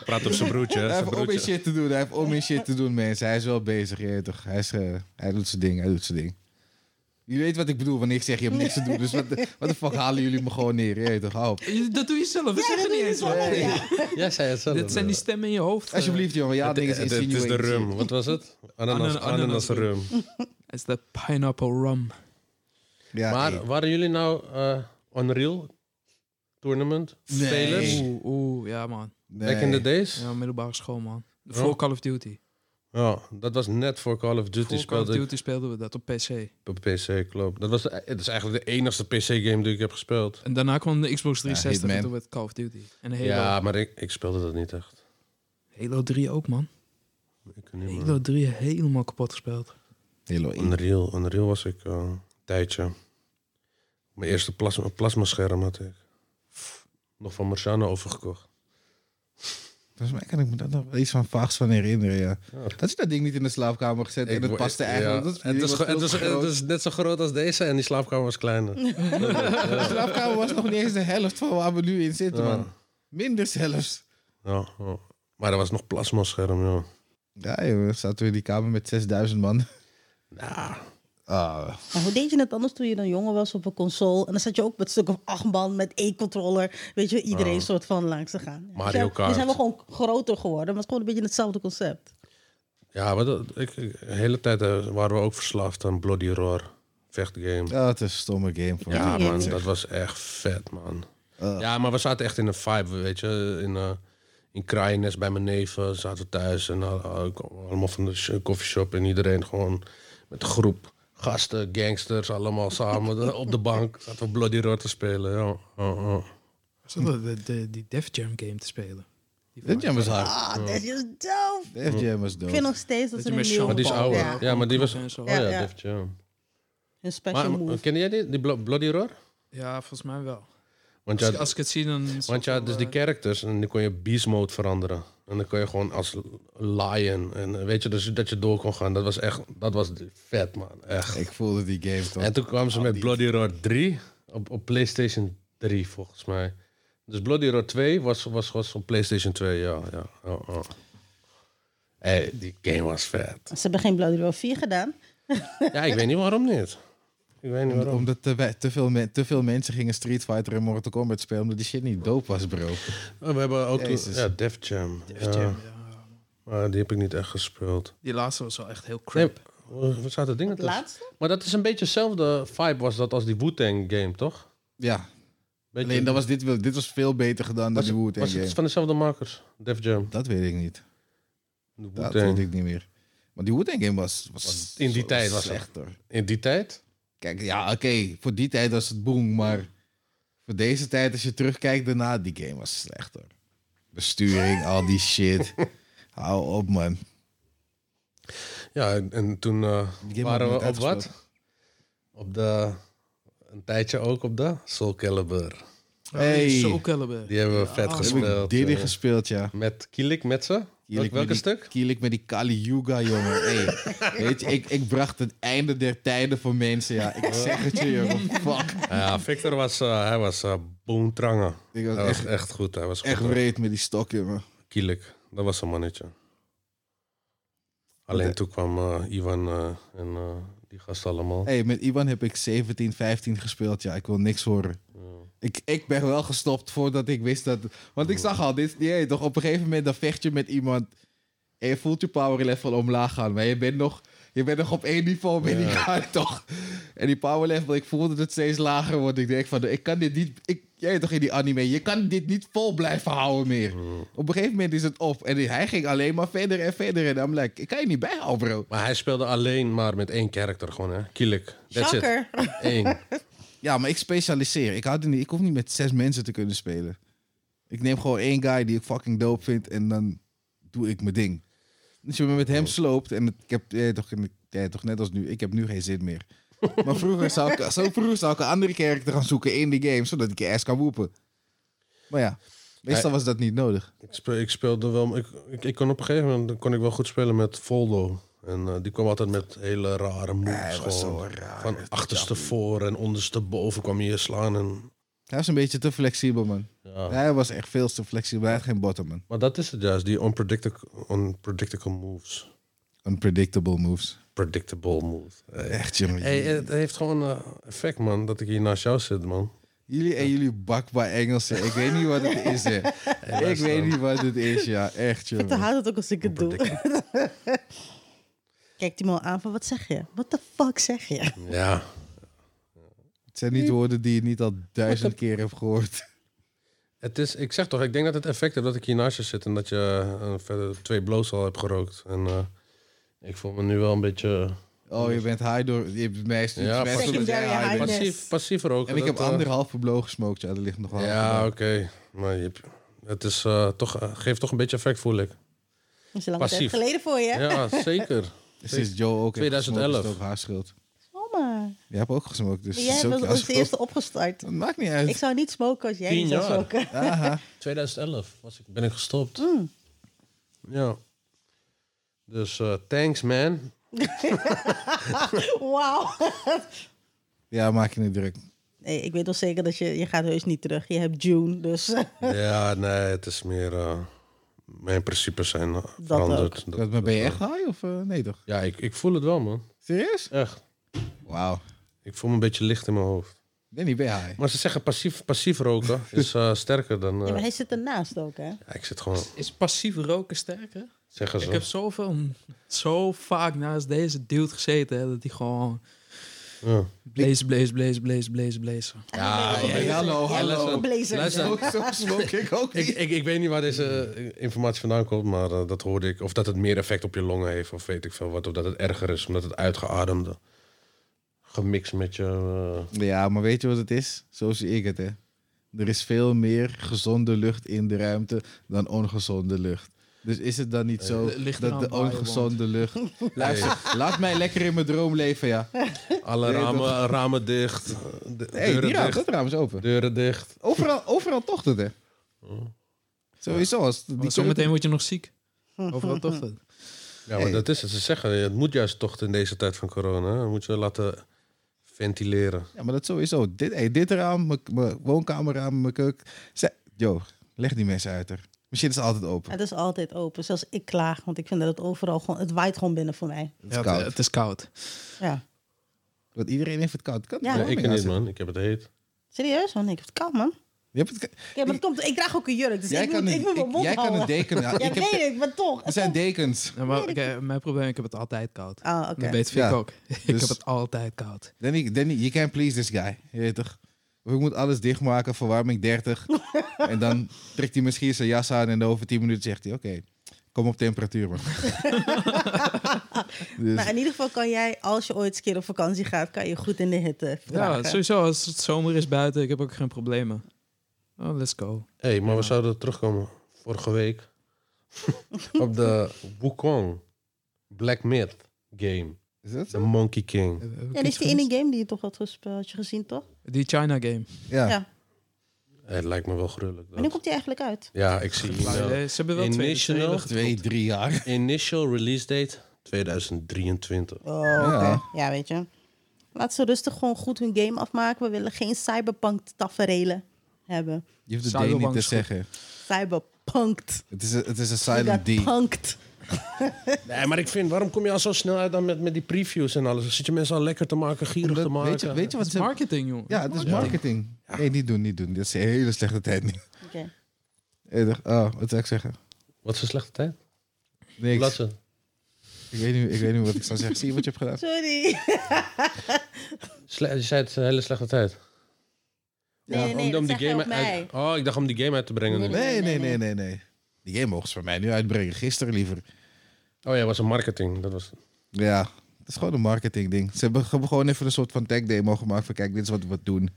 Praat op zijn broertje. hè,
Hij
zijn
heeft om meer
broertje.
shit te doen. Hij heeft om meer shit te doen, mensen. Hij is wel bezig, je weet toch. Hij, is, eh, hij doet zijn ding, hij doet zijn ding. Je weet wat ik bedoel wanneer ik zeg je hebt niks te doen. Dus wat de, wat de fuck halen jullie me gewoon neer, je weet toch. Hou op.
Je- Dat doe je zelf, we
Ja, dat
zeggen
doe
niet
je
eens
zelf, ja.
hoor.
Jij zei het zelf.
Dit zijn die stemmen in je hoofd. eh.
Alsjeblieft, jongen. Ja,
Het-
dingen is
het- Het is de
insinuating.
rum. Wat was het? Ananas,
Ananas-
ananas rum.
Het is de pineapple rum.
Ja, hey.
Maar waren jullie nou eh Unreal Tournament
Nee.
spelers?
Nee.
Oeh, oeh, ja man.
Nee.
Back in the days?
Ja, middelbare school man.
Ja.
Voor Call of Duty.
Ja, Oh, dat was net voor Call of Duty
Voor Call of
speelde ik
Duty speelden we dat op PC.
op PC, klopt. Dat was de- het is eigenlijk de enigste PC-game die ik heb gespeeld.
En daarna kwam de Xbox 360
Hitman.
en toen werd Call of Duty. En Halo.
Ja, maar ik, ik speelde dat niet echt.
Halo 3 ook man.
Ik kan niet meer.
Halo 3 helemaal kapot gespeeld.
Hello,
Unreal, Unreal was ik eh, een tijdje. Mijn eerste plasma, plasmascherm had ik. Nog van Marciano overgekocht.
Volgens mij kan ik me daar nog wel iets van vaags van herinneren, ja.
Ja.
Dat is dat ding niet in de slaapkamer gezet en het
Oh. Ik-
paste
ja.
eigenlijk. Dat
het, is,
was
gro- het,
veel
is,
te
het
groot.
is net zo groot als deze en die slaapkamer was kleiner.
De slaapkamer was nog niet eens de helft van waar we nu in zitten,
Ja.
man. Minder zelfs.
Ja, ja. Maar er was nog plasmascherm, ja.
Ja, jongen, zaten we in die kamer met 6000 man.
Nou,
Ah,
Maar hoe deed je het anders toen je dan jonger was op een console? En dan zat je ook met een stuk of acht man met één controller. Weet je, iedereen
Ah.
soort van langs te gaan. Ja,
Mario
we zijn-
Kart.
We zijn wel gewoon groter geworden, maar het is gewoon een beetje hetzelfde concept.
ja, maar dat, ik, ik- de hele tijd eh, waren we ook verslaafd aan Bloody Roar. Vechtgame.
ah, het is een stomme game. Voor
Ja,
die
man,
game.
dat was echt vet, man.
Ah.
Ja, maar we zaten echt in een vibe, weet je. In, eh in Kraaiennest bij mijn neven zaten we thuis. En al- al- allemaal van de sh- coffeeshop en iedereen gewoon met een groep gasten, gangsters, allemaal samen de- op de bank. Zaten we Bloody Roar te spelen, ja. Oh, Ja, ja.
Zonder de, de, die Def Jam game te spelen. Die
Def Jam was hard.
Ah, dat is doof.
Def Jam was
Ik vind
dope.
nog steeds dat
Dat
ze
je
een nieuwe...
met Sean
Maar Oh, die is
Paul-
ouder.
Ja.
Ja, maar die was...
en zo.
Oh
Ja,
ja,
ja.
Def Jam.
Een
Maar
special move.
ken jij die, die Blo- Bloody Roar?
Ja, volgens mij wel.
Want
Als, ik-
ja,
als ik het zie, dan... is het
Want ja,
wel,
dus die
eh,
characters, en dan kon je beast mode veranderen. En dan kon je gewoon als lion. En eh, weet je, dus dat je door kon gaan. Dat was echt, dat was vet, man. Echt.
Ik voelde die game toch.
En toen kwamen ze
Oh,
met
die-
Bloody Roar 3 op, op PlayStation 3, volgens mij. Dus Bloody Roar 2 was, was, was op PlayStation 2, ja. ja, ja, ja. Hey, die game was vet.
Ze hebben geen Bloody Roar 4 gedaan.
Ja, ik weet niet waarom niet. Ik weet niet
Om-
waarom.
Omdat te, wij- te, veel men- te veel mensen gingen Street Fighter en Mortal Kombat spelen omdat die shit niet dope was, bro.
Oh, we hebben ook
Jezus.
ja, Def Jam.
Def
ja.
Jam, ja.
Maar die heb ik niet echt gespeeld.
Die laatste was wel echt heel
Nee,
crap.
wat zaten dingen
Het
tussen?
laatste?
Maar dat is een beetje dezelfde vibe was dat als die Wu-Tang game, toch?
Ja,
Beetje-
alleen dat was dit, wel- dit was veel beter gedaan dan
was,
de Wu-Tang
was het
game.
van dezelfde makers, Def Jam.
Dat weet ik niet.
De
Dat
Wu-Tang.
weet ik niet meer. Maar die Wu-Tang game was, was...
in die
zo
tijd was
slecht, hoor.
In die tijd?
Kijk, ja, oké, voor die tijd was het boom, maar voor deze tijd, als je terugkijkt daarna, die game was slecht hoor. Besturing, al die shit. Hou op, man.
Ja, en, en toen eh,
Die game
waren
had
we
ik
op
niet
wat?
uitgespeeld.
Op de... Een tijdje ook op de Soul Calibur.
Hey.
Soul Calibur.
Die hebben we
Ja,
vet
oh.
Heb ik
gespeeld.
Diddy
eh,
gespeeld, ja.
Met Kielik, met ze?
Kielik met
Welk, welke
die-
stuk?
Kielik met die Kali Yuga, jongen. Hey, weet je, ik, ik bracht het einde der tijden voor mensen, ja. Ik zeg het je, jongen. Fuck.
Ja, Victor was, eh, hij was eh boentrangen.
Ik
Hij
was
was
echt,
echt goed. Hij was
echt
goed.
wreed met die stok, jongen.
Kielik, dat was een mannetje. Alleen toen kwam eh, Ivan eh, en eh, die gasten allemaal.
Hey, met Iwan heb ik 17, 15 gespeeld, ja. Ik wil niks horen. Ik, ik ben wel gestopt voordat ik wist dat. Want ik zag al, dit, jee, toch op een gegeven moment dan vecht je met iemand. En je voelt je power level omlaag gaan. Maar je bent nog, je bent nog op één niveau met die guy, toch? En die power level, ik voelde dat het steeds lager wordt. Ik denk van, ik kan dit niet. Ik, jij toch in die anime, je kan dit niet vol blijven houden meer. Op een gegeven moment is het op. En hij ging alleen maar verder en verder. En I'm like, ik kan je niet bijhouden, bro.
Maar hij speelde alleen maar met één karakter gewoon, hè? Kielik. That's it. Mm.
Shocker.
Eén.
Ja, maar ik specialiseer. Ik, hou er niet, ik hoef niet met zes mensen te kunnen spelen. Ik neem gewoon één guy die ik fucking dope vind en dan doe ik mijn ding. Als je me met
Oh.
hem sloopt en het- ik heb eh, toch, en ik- eh, toch net als nu, ik heb nu geen zin meer. Maar vroeger zou ik, zo vroeger zou ik een andere karakter gaan zoeken in die game, zodat ik je ass kan woepen. Maar ja, meestal was dat niet nodig.
Ik, spe- ik speelde wel... Ik, ik, ik kon op een gegeven moment kon ik wel goed spelen met Voldo. En eh, die kwam altijd met hele rare moves.
hij was
gewoon.
zo raar.
Van achterstevoren en ondersteboven kwam je slaan. En,
Hij was een beetje te flexibel, man.
ja.
Hij was echt veel te flexibel. Hij had geen bottom, man.
Maar dat is het juist, die unpredictable, unpredictable moves.
Unpredictable moves.
Predictable moves. Hey.
Echt, jongen.
Hey, het heeft gewoon eh, effect, man, dat ik hier naast jou zit, man.
Jullie en jullie bakbaar Engelsen. Ik weet niet wat het is, hè. ik
luister.
weet niet wat het is, ja. Echt,
Ik
joh.
haat het ook als ik het doe. Kijkt die man aan van, wat zeg je? What the fuck zeg je?
Ja,
Het zijn niet woorden die je niet al duizend keer hebt gehoord.
het is, ik zeg toch, ik denk dat het effect heeft dat ik hier naast je zit en dat je eh, verder twee blows al hebt gerookt. En eh, ik voel me nu wel een beetje eh,
Oh, je bent high door... Je hebt mij stuurt
Ja,
mij
pas-
stuurt dat jij
Secondary
high
high
bent.
net.
passief, passief roken.
En ik
dat,
heb
eh,
anderhalve blow gesmokt, ja. Er ligt nog wel
Ja, oké. Maar je hebt- het is, eh, toch, eh, geeft toch een beetje effect, voel ik.
Dat is een lange tijd
Passief.
geleden voor je.
Ja, zeker.
Sinds Joe ook heeft gesmokt,
2011.
is het ook haar schuld.
Oh my maar.
Jij hebt ook gesmokt, dus...
Maar jij
is ook
was
jouw
als
schuld.
eerste opgestart.
Dat maakt niet uit.
Ik zou niet smoken als jij
Tien
niet zou
jaar.
smoken.
2011 was ik, ben ik gestopt.
Mm.
Ja. Dus eh, thanks man.
Wauw.
Ja, maak je niet druk.
Nee, ik weet wel zeker dat je, je gaat heus niet terug. Je hebt June, dus eh,
ja, nee, het is meer... eh, mijn principes zijn eh, veranderd. Dat-
Dat, maar ben je echt high of eh, nee toch?
Ja, ik, ik voel het wel man.
Serieus?
Echt.
Wauw.
Ik voel me een beetje licht in mijn hoofd.
Nee, niet ben je high.
Maar ze zeggen passief, passief roken is eh, sterker dan... eh,
ja, maar hij zit ernaast ook, hè?
ja, ik zit gewoon...
Is passief roken sterker?
Zeggen ze.
Ik heb zoveel, zo vaak naast deze dude gezeten hè, dat hij gewoon
Ja.
blaze, blaze, blaze, blaze, blaze, blaze.
Ja,
Hij is
ja,
een
hallo,
blazer.
hallo.
Ja, een blazer.
Luister.
Zo, zo smoke ik ook
Ik,
niet.
ik, ik weet niet waar deze eh, informatie vandaan komt, maar eh, dat hoorde ik. Of dat het meer effect op je longen heeft, of weet ik veel wat. Of dat het erger is, omdat het uitgeademde. Gemixt met je... eh,
Ja, maar weet je wat het is? Zo zie ik het, hè. Er is veel meer gezonde lucht in de ruimte dan ongezonde lucht. Dus is het dan niet zo
Eh, ligt
dat
eraan
de
waar je woont.
ongezonde lucht... Luister, laat mij lekker in mijn droom leven, ja.
alle
Nee,
ramen, ramen dicht. eh, de-
hey,
deuren
die raam,
dicht.
dat raam is open.
Deuren dicht.
Overal, overal tocht het, hè. Sowieso. Als die
Maar zometeen word je nog ziek. Overal toch dat.
Ja, maar
Hey.
dat is het. Ze zeggen, het moet juist toch in deze tijd van corona. hè. moet je laten ventileren.
Ja, maar dat sowieso. Dit, hey, dit raam, mijn- mijn woonkamerraam, mijn keuken. Ze- Yo, leg die mensen uit er. Misschien is het altijd open.
Het is altijd open, zelfs ik klaag, want ik vind dat het overal gewoon, het waait gewoon binnen voor mij.
Het is
Ja,
koud.
het, het is koud.
Ja.
Want iedereen heeft het koud. Kan
Ja.
Nee,
Waarom
ik niet, man. Ik heb het heet.
Serieus? Want ik heb het koud, man.
Je hebt het, ka-
Ja, maar het komt, ik draag ook een jurk, dus
jij
ik
kan
moet,
een,
ik moet mijn
ik-
mond
jij kan
houden.
een deken. Ja,
ja,
ik heb,
weet ik, maar toch.
er zijn dekens.
Ja, maar kijk, mijn probleem, ik heb het altijd koud.
Ah, oké.
Dat weet Vic
Ja,
ook. ik
dus-
heb het altijd koud.
Danny, Danny, you can't please this guy. Je weet toch? Ik moet alles dichtmaken, verwarming 30. en dan trekt hij misschien zijn jas aan en over 10 minuten zegt hij... Oké, kom op temperatuur, man. dus,
Maar in ieder geval kan jij, als je ooit eens een keer op vakantie gaat, kan je goed in de hitte
Ja,
verdragen.
sowieso, als het zomer is buiten, ik heb ook geen problemen. Oh, let's go.
Hé, hey, maar we zouden terugkomen vorige week op de Wukong Black Myth game.
is dat
De
zo?
Monkey King.
Heb- heb ik
Ja, dat
iets
is die
gemist?
ene game die je toch had, gespeeld, had je gezien, toch?
Die China game.
Ja.
Ja.
Eh, Het lijkt me wel gruwelijk.
Wanneer
Dat.
komt die eigenlijk uit?
Ja, ik zie hier,
Maar, eh, ze hebben wel
In
twee
National
trailers
Twee, drie jaar.
eh, Initial release date 2023.
Oh,
Ja.
oké. ja, weet je. Laat ze rustig gewoon goed hun game afmaken. We willen geen cyberpunk-taferelen hebben.
Je hoeft het
Zou je
D niet
langs
te
goed-
zeggen.
Cyberpunkt.
Het is een, het is een
You
silent
got
D.
punked.
Nee, maar ik vind, waarom kom je al zo snel uit dan met, met die previews en alles? Dan zit je mensen al lekker te maken, gierig te
Dat-
maken.
Weet je, weet je wat
Het is
ze...
marketing, jongen.
Ja, het is marketing. Nee, niet doen, niet doen. Dit is een hele slechte tijd nu.
Oké.
Eh, dacht- Oh, wat zou ik zeggen?
Wat is een slechte tijd? Laat
Niks.
ze.
Ik weet niet, ik weet niet wat ik zou zeggen. Zie je wat je hebt gedaan?
Sorry.
Sle- je zei het is een hele slechte tijd.
Nee, nee, nee, dat zeg jij op mij.
uit... Oh, ik dacht om die game uit te brengen.
Nee,
nu.
Nee, nee, nee, nee, nee. Die game mogen ze voor mij nu uitbrengen. Gisteren liever.
Oh ja, was een marketing. Dat was...
Ja, het is gewoon een marketing ding. Ze hebben ge- gewoon even een soort van tech demo gemaakt. Van kijk, dit is wat we doen.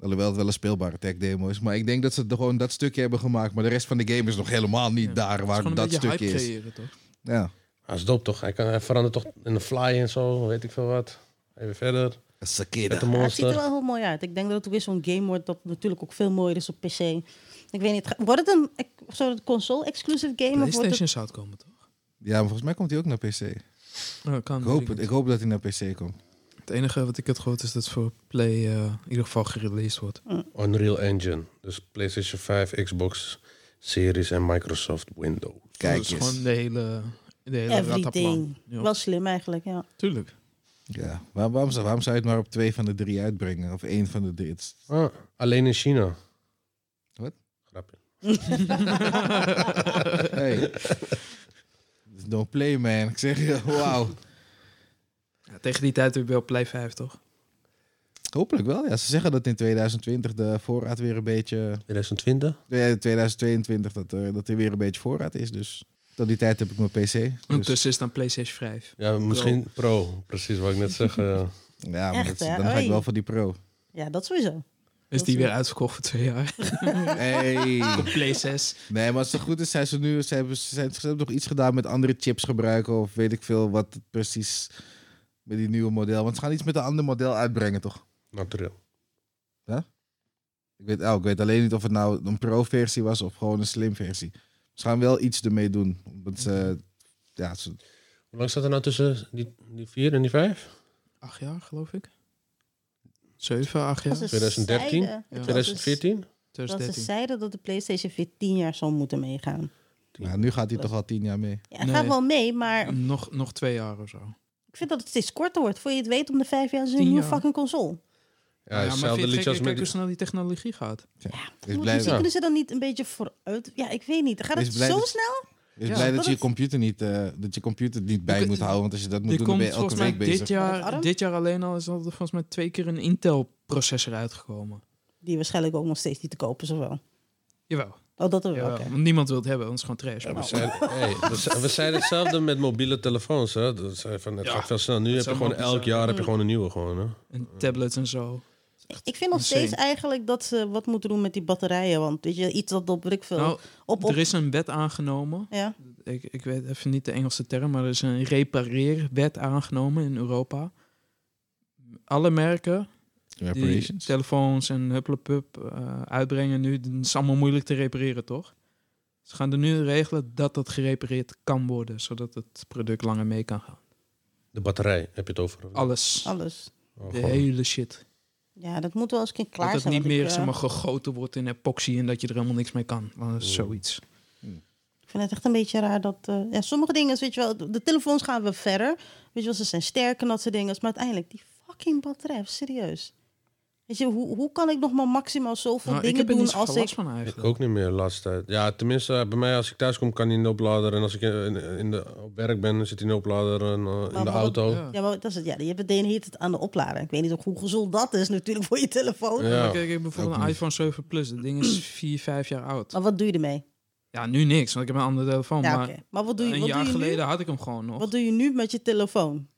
Alhoewel het wel een speelbare tech demo is. Maar ik denk dat ze er gewoon dat stukje hebben gemaakt. Maar de rest van de game is nog helemaal niet
Ja,
daar
Het is
waar
gewoon
dat
een beetje
stukje
hype
is.
creëren, toch?
Ja.
Ah, is dope toch? Hij, kan, hij verandert toch in de fly en zo, weet ik veel wat. Even verder. Met de
Sakeda.
Ja, het ziet er
monster.
wel heel mooi uit. Ik denk dat het weer zo'n game wordt dat natuurlijk ook veel mooier is op PC. Ik weet niet, ga- wordt het een ex- zou het een console-exclusive game? Of wordt het...
PlayStation zou het komen, toch?
Ja, maar volgens mij komt hij ook naar PC. Ik
Ja, kan
hoop, het, ik hoop dat hij naar PC komt.
Het enige wat ik heb gehoord is dat het voor Play eh, in ieder geval gereleased wordt.
Unreal Engine. Dus PlayStation 5, Xbox Series en Microsoft Windows.
Kijk
dus
eens.
gewoon de hele, de hele
Everything.
rattenplan. Ja,
Wel slim eigenlijk, ja.
tuurlijk.
Ja. Waar- waarom, zou- waarom zou je het maar op twee van de drie uitbrengen? Of één van de drie? Het is-
Ah, alleen in China.
Wat?
Grapje.
Hey. Don't play, man. Ik zeg je, wauw.
Ja, tegen die tijd heb je wel Play 5,
Dus-
toch?
Hopelijk wel, ja. Ze zeggen dat in 2020 de voorraad weer een beetje...
2020?
eh, 2022 dat er, dat er weer een beetje voorraad is, dus... Tot die tijd heb ik mijn PC. Dus,
Ondertussen is dan PlayStation 5.
Ja, misschien pro. Precies wat ik net zeg. eh, ja.
ja, maar
Echt,
dat-
hè?
dan ga ik
Oei.
wel voor die pro.
Ja, dat sowieso.
Is
Dat
die
is-
weer uitverkocht voor twee jaar?
Hey.
Play 6.
Nee, maar als het goed is, zijn ze nu... Ze hebben, ze, zijn- ze hebben nog iets gedaan met andere chips gebruiken... of weet ik veel wat het precies Met die nieuwe model. Want ze gaan iets met een ander model uitbrengen, toch?
Natuurlijk.
Ik weet, oh, ik weet alleen niet of het nou een pro-versie was of gewoon een slim versie. Ze gaan wel iets ermee doen. Omdat ze, ja, ze-
Hoe lang staat er nou tussen die, die vier en die vijf?
Acht jaar, geloof ik. Zeven, acht
Als ze
jaar.
2013?
zeiden- ik was dus-
2014?
Dat ze
2013.
zeiden dat de PlayStation 4 10 jaar zou moeten meegaan.
nou, nu gaat hij toch al tien jaar mee.
Ja, hij
Nee.
gaat wel mee, maar
Nog, nog twee jaar of zo.
ik vind dat het steeds korter wordt. Voor je het weet, om de vijf jaar is er een
Tien
nieuwe
jaar.
fucking console.
Ja, hetzelfde
vind je het
liedje
gek?
als
Kijk
met
hoe
die...
snel die technologie gaat.
Moet-
Ik blij,
Misschien
ik
kunnen ze dan niet een beetje vooruit. Ja, ik weet niet. Gaat
Is
het
blij
zo
dat-
snel?
ben
Ja.
blij dat
Dat
je je
het-
computer niet, eh, dat je computer niet bij
Je-
moet houden. Want als je dat moet
Er
doen, dan ben
komt
je elke
volgens
week
mij
bezig.
dit
Met
jaar,
ARM?
dit jaar alleen al is al volgens mij twee keer een Intel-processor uitgekomen.
Die waarschijnlijk ook nog steeds niet te kopen, zowel.
Jawel.
Oh, dat dan wel.
jawel.
oké.
Want niemand wil het hebben, want het is gewoon trash.
Ja, we,
Nou.
Maar
zijn, hey, we, zijn, we zijn hetzelfde met mobiele telefoons. Hè? Dat zijn van, het
Ja,
gaat veel snel. Nu heb je
zou Mm.
gewoon
wel
elk
bizar.
jaar heb je gewoon een nieuwe. Gewoon, hè?
en tablets en zo.
Ik vind nog
insane.
steeds eigenlijk dat ze wat moeten doen met die batterijen. Want weet je, iets dat op weet ik veel.
Nou,
op, op,
er is een wet aangenomen.
ja.
Ik, ik weet even niet de Engelse term, maar er is een repareerwet aangenomen in Europa. Alle merken die
Reparations.
telefoons en hupplepup eh, uitbrengen nu, dat is allemaal moeilijk te repareren, toch? Ze gaan er nu regelen dat dat gerepareerd kan worden, zodat het product langer mee kan gaan.
De batterij heb je het over. of niet?
Alles.
alles.
Oh,
de
gewoon.
hele shit.
Ja, dat moet wel eens een keer klaar
dat het
zijn.
niet
want
meer
ik, eh,
zeg maar, gegoten wordt in epoxy en dat je er helemaal niks mee kan. Dat is
Ja.
zoiets.
Ik vind het echt een beetje raar dat... eh, ja, sommige dingen, is, weet je wel, de- de telefoons gaan we verder. Weet je wel, ze zijn sterk en dat soort dingen. Maar uiteindelijk, die fucking batterij, serieus. Weet je, hoe, hoe kan ik nog maar maximaal zoveel
Nou, ik
dingen
heb er
doen
niet zoveel
als
last
ik...
van
Ik
eigenlijk.
ook niet meer de laatste tijd. Ja, tenminste, eh, bij mij als ik thuis kom kan hij in de oplader. En als ik in, in de, op werk ben, zit hij in de oplader en, eh, in
Maar
de
wat-
auto.
Ja.
Ja, maar dat is het. Ja, je hebt het heet het aan de oplader. Ik weet niet ook hoe gezond dat is natuurlijk voor je telefoon.
Ja.
Maar Nou, kijk, ik heb bijvoorbeeld
Ook
een
niet.
iPhone 7 Plus. Dat ding
Mm.
is 4, 5 jaar oud.
Maar wat doe je ermee?
Ja, nu niks, want ik heb een andere telefoon.
ja,
maar
oké. Maar wat doe je,
een
wat
jaar
doe je nu?
geleden had ik hem gewoon nog.
Wat doe je nu met je telefoon?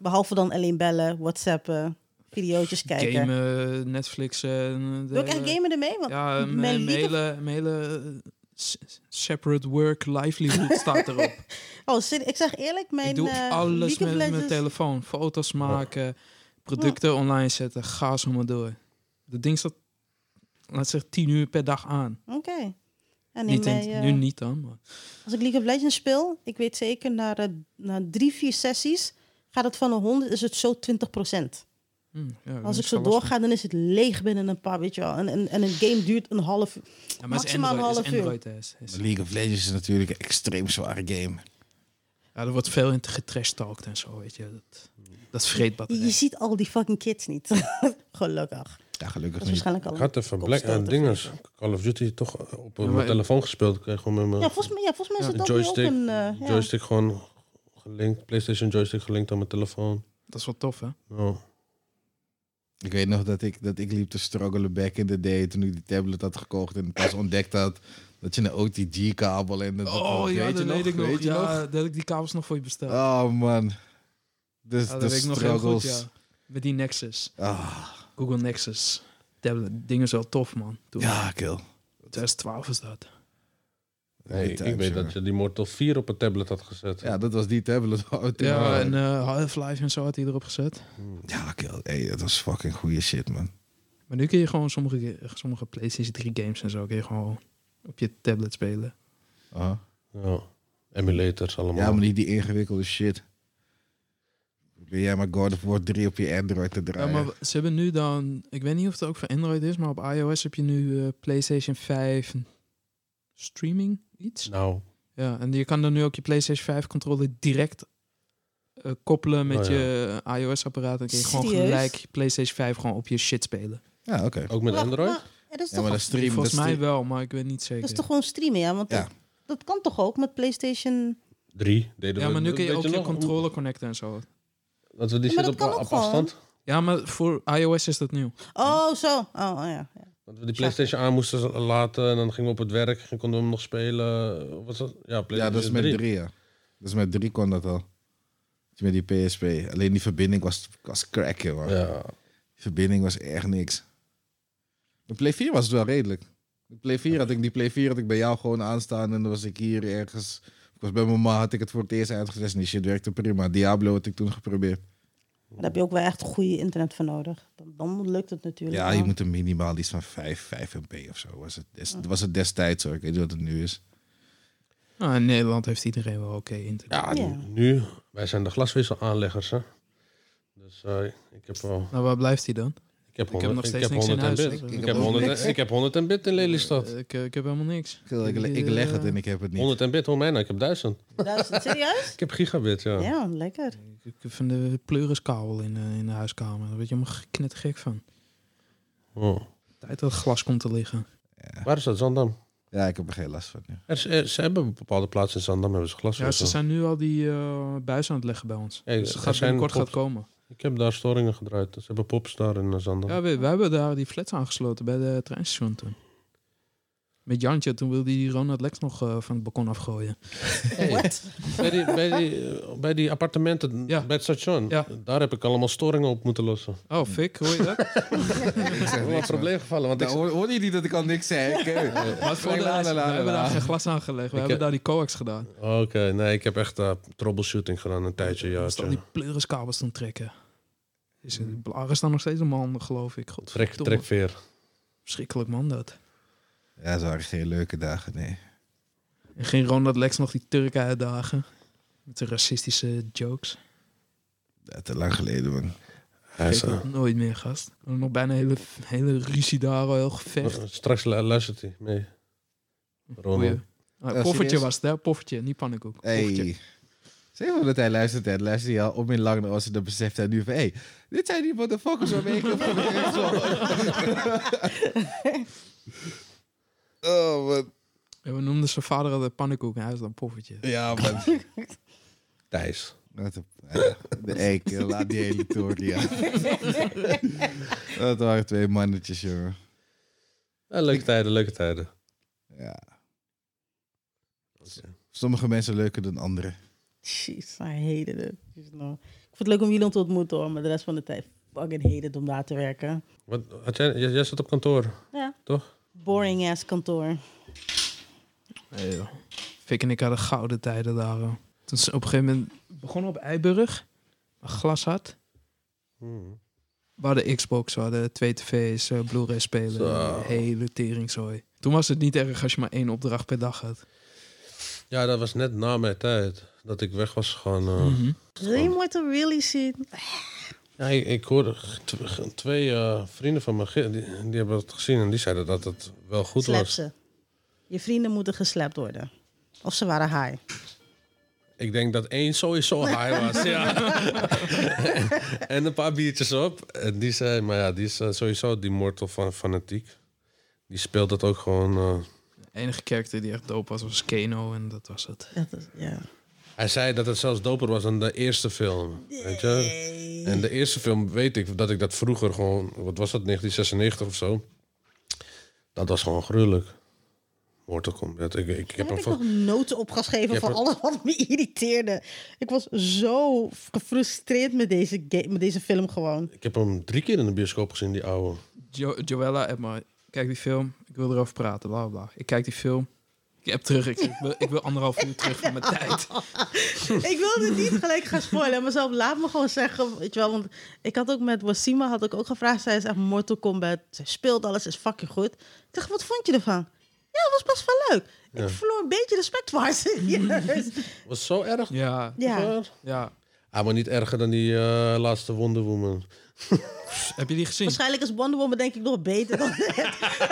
Behalve dan alleen bellen, whatsappen, video's kijken.
Gamen, Netflix. eh, de
Doe ik echt
hele-
gamen ermee? Want
Ja,
mijn
mijn, mijn
lied of-
hele, mijn hele eh, s- separate work livelihood staat erop.
Oh, ser- ik zeg eerlijk, mijn
ik doe
eh,
alles
League of
met mijn
Legends-
telefoon. Foto's maken, producten online zetten, ga zo maar door. Dat ding staat, laat zeggen, tien uur per dag aan.
Oké. En in
niet in-
mijn, Oh, eh,
Nu niet dan, maar
Als ik League of Legends speel, ik weet zeker, na, eh, na drie, vier sessies gaat het van de 100, is het zo 20%.
hm, ja, dat
Als
is
ik zo
wel lastig.
doorga, dan is het leeg binnen een paar, weet je wel. En, en, en een game duurt een half uur.
Ja, maar het is
maximaal een
Android, het is
half uur.
Android, hè, is- is-
League of Legends is natuurlijk een extreem zware game.
Ja, er wordt veel in getrashtalkt en zo, weet je. Dat, dat
Je,
vreet
je
batterij.
ziet al die fucking kids niet. Gelukkig.
Ja,
Dat
gelukkig
is
niet.
waarschijnlijk al
Ik
een
had even Black en
kopstoot of
dingers.
zo.
Call of Duty toch eh, op
Ja,
mijn
maar-
telefoon gespeeld. Ik kreeg gewoon met
Ja,
mijn
volgens mij, ja, volgens mij
Ja,
is het ook nu ook
joystick,
een... eh, ja.
joystick gewoon gelinkt. PlayStation joystick gelinkt aan mijn telefoon.
Dat is wel tof, hè?
Ja.
Ik weet nog dat ik, dat ik liep te struggelen back in the day toen ik die tablet had gekocht en pas ontdekt had dat je een OTG-kabel en dat
Oh
weet
ja,
je
dat weet ik nog.
weet je
ja, dat heb ik die kabels nog voor je besteld.
Oh man. Dus
Ja, dat
de
weet ik nog
struggles.
heel goed, ja. Met die Nexus.
Ah,
Google Nexus. Tablet. Ding is wel tof, man. Toen,
ja, kill.
2012 is dat.
Nee,
Good
ik
times,
weet
jongen.
dat je die Mortal 4 op een tablet had gezet.
Ja, dat was die tablet. waar we toen
Ja,
waren.
en eh, Half-Life en zo had hij erop gezet.
Hmm.
ja kill. Hey, dat was fucking goede shit, man.
Maar nu kun je gewoon sommige, sommige PlayStation 3 games en zo kun je gewoon op je tablet spelen. Ah.
Aha.
Ja. Emulators allemaal.
Ja, maar niet die ingewikkelde shit. Ben jij maar God of War 3 op je Android te
Ja,
draaien?
maar ze hebben nu dan... Ik weet niet of het ook voor Android is, maar op iOS heb je nu eh, PlayStation 5 streaming iets.
Nou,
Ja, en je kan dan nu ook je PlayStation 5 controller direct eh, koppelen met
Oh ja.
je iOS-apparaat. Dan kun je gewoon
Serieus?
gelijk je PlayStation 5 gewoon op je shit spelen.
Ja, oké.
ook met
Wacht,
Android?
maar- ja, dat is
Ja,
toch
maar dat stream,
Volgens
dat
mij
stream-
wel, maar ik weet niet zeker.
Dat is toch gewoon streamen, ja? Want
Ja.
Dat, dat kan toch ook met PlayStation...
Drie. Deden
ja,
we,
maar nu kun je
weet
ook je
nog,
controller connecten en zo.
Dat we die
Ja, maar
zitten op,
dat kan ook
op afstand.
Ja, maar voor iOS is dat nieuw.
Oh, zo. Oh, oh ja. ja.
Dat we die PlayStation aan moesten laten en dan gingen we op het werk en konden we hem nog spelen. Wat was dat? Ja, PlayStation
Ja, dat is met
3.
3, ja. Dat is met 3 kon dat al. Met die PSP. Alleen die verbinding was, was cracken, man.
Ja,
Die verbinding was echt niks. De Play 4 was het wel redelijk. De Play 4 had ik, die Play 4 had ik bij jou gewoon aanstaan en dan was ik hier ergens Ik
was bij mijn ma, had ik het voor het eerst uitgetest en die shit werkte prima. Diablo had ik toen geprobeerd.
Daar heb je ook wel echt goede internet voor nodig. Dan, dan lukt het natuurlijk.
Ja,
wel.
je moet een minimaal iets van 5, 5 MP of zo. Was het, des- was het destijds hoor. Ik weet niet wat het nu is.
Nou, in Nederland heeft iedereen wel oké internet.
Ja,
Ja.
nu, wij zijn de glaswisselaanleggers, hè. Dus eh, ik heb wel...
Nou, waar blijft hij dan?
Ik heb,
heb
100,
nog
ik
steeds
heb
niks in
100 en
huis,
bit.
dus,
Ik,
eh,
heb
dat
100,
is niks,
en- ik heb 100 en bit in Lelystad.
Eh, Ik, eh, ik heb helemaal niks.
Ik, ik leg het en ik heb het niet.
100 en bit, hoe mij nou? Ik heb 1000.
Duizend, serieus?
Ik heb gigabit, ja.
Ja, lekker.
Ik ik vind de pleuriskabel in, eh, in de huiskamer. Daar word je helemaal knettergek van.
Oh.
Tijd dat glas komt te liggen.
Waar is dat, Zandam?
Ja, ik heb er geen last van. Ja.
Er, is- er- ze hebben bepaalde plaatsen in Zandam, hebben ze
Ja, ze
glaswissel.
zijn nu al die eh buis aan het leggen bij ons.
Hey,
dus
er
het gaat
zijn
binnenkort
pops.
gaat komen.
ik heb daar storingen gedraaid. Ze hebben pops daar in eh, Zandam.
Ja, we, we hebben daar die flats aangesloten bij de treinstation toen. Met Jantje, toen wilde die Ronald Lex nog eh, van het balkon afgooien.
Hey, bij, die, bij, die, eh, bij die appartementen
Ja.
bij het station,
Ja.
daar heb ik allemaal storingen op moeten lossen.
Oh, fik, hoor je dat?
Ik zeg
Wel een
niks, man.
probleem gevallen, want
Nou,
ik...
hoor, hoorde je niet dat ik al niks zei? Oké.
Wat voor de
La, la,
rest,
la,
We
la, la.
hebben
eh,
daar geen glas aan gelegd. We
Ik
hebben
heb-
daar die coax gedaan.
Oké, nee, ik heb echt eh, troubleshooting gedaan een tijdje, ja. Hmm.
Dus dan die pleuriskabels toen trekken. Is het blaren staan nog steeds om mijn handen, geloof ik. God,
Trek, trekveer.
Verschrikkelijk man dat.
Ja, dat waren geen leuke dagen, nee.
En ging Ronald Lex nog die Turken uitdagen. Met zijn racistische jokes.
Ja, te lang geleden, man.
Hij is, eh,
Vergeet dat nooit meer, gast. We hadden nog bijna een hele, hele ruzie daar, al, heel gevecht.
eh, straks lu- luistert hij mee. Ronald.
Goeie. Ah,
Ja,
poffertje
serieus?
was het, hè? Poffertje, niet pannenkoek. Poffertje.
Hey. Zeg maar dat hij luistert en luistert hij al om in lang naar ons en dan beseft hij nu van... hey, dit zijn die motherfuckers waarmee ik heb Oh, man.
Ja, we noemden zijn vader altijd pannenkoek en hij is dan poffertje.
Ja, man.
Thijs.
Wat een- ja, De eikel, laat die hele toer die aan. Dat waren twee mannetjes, jongen.
Ja, leuke tijden, leuke tijden.
Ja. Sommige mensen leuker dan anderen.
Jeez, I hated it. Jeez, no. Ik vond het leuk om jullie om te ontmoeten hoor, maar de rest van de tijd fucking hated het om daar te werken.
Wat, had jij, jij, jij zat op kantoor.
Ja.
Toch?
Boring ass kantoor.
Nee, joh. Fik en ik hadden gouden tijden daar. hoor. Toen ze op een gegeven moment begonnen op Eiburg. Een glas had.
Hmm.
We hadden Xbox, we hadden twee tv's, eh, Blu-ray spelen.
Zo.
een Hele teringzooi. Toen was het niet erg als je maar één opdracht per dag had.
Ja, dat was net na mijn tijd. Dat ik weg was gegaan. eh.
Mhm.
Wil je me te really zien?
Ja, ik, ik hoorde g- tw- g- twee eh, vrienden van me, ge- die, die hebben het gezien en die zeiden dat het wel goed
Slap
was.
ze. Je vrienden moeten geslapt worden. Of ze waren high.
Ik denk dat één sowieso high was, ja. en een paar biertjes op. En die zei, maar ja, die is eh, sowieso die mortel van fanatiek. Die speelt dat ook gewoon... eh,
De enige character die echt dope was, was Keno en dat was het.
Dat is, ja.
Hij zei dat het zelfs doper was dan de eerste film. Weet je? En de eerste film weet ik dat ik dat vroeger gewoon, wat was dat, 1996 of zo? Dat was gewoon gruwelijk. Mortal Kombat. Ik, ik,
Daar
heb
heb
hem
ik
van.
nog noten opgeschreven
hebt
van
er-
alles wat me irriteerde. Ik was zo gefrustreerd met deze, ga- met deze film gewoon.
Ik heb hem drie keer in de bioscoop gezien, die oude.
Jo Joella app maar, kijk die film, ik wil erover praten, bla bla. bla. Ik kijk die film, ik app terug, ik, ik wil, ik wil anderhalf uur terug van mijn tijd.
Hm.
ik wilde niet gelijk gaan spoilen, maar zelf laat me gewoon zeggen, weet je wel, want ik had ook met Wasima had ik ook gevraagd, zij is echt Mortal Kombat, zij speelt alles, ze is fucking goed. Ik dacht, wat vond je ervan? Ja, het was best wel leuk.
Ja.
Ik verloor een beetje respect voor haar, serieus.
Was zo erg.
Ja,
Ja.
ja.
Hij was niet erger dan die eh, laatste Wonder Woman.
Heb je die gezien?
Waarschijnlijk is Wonder Woman denk ik nog beter dan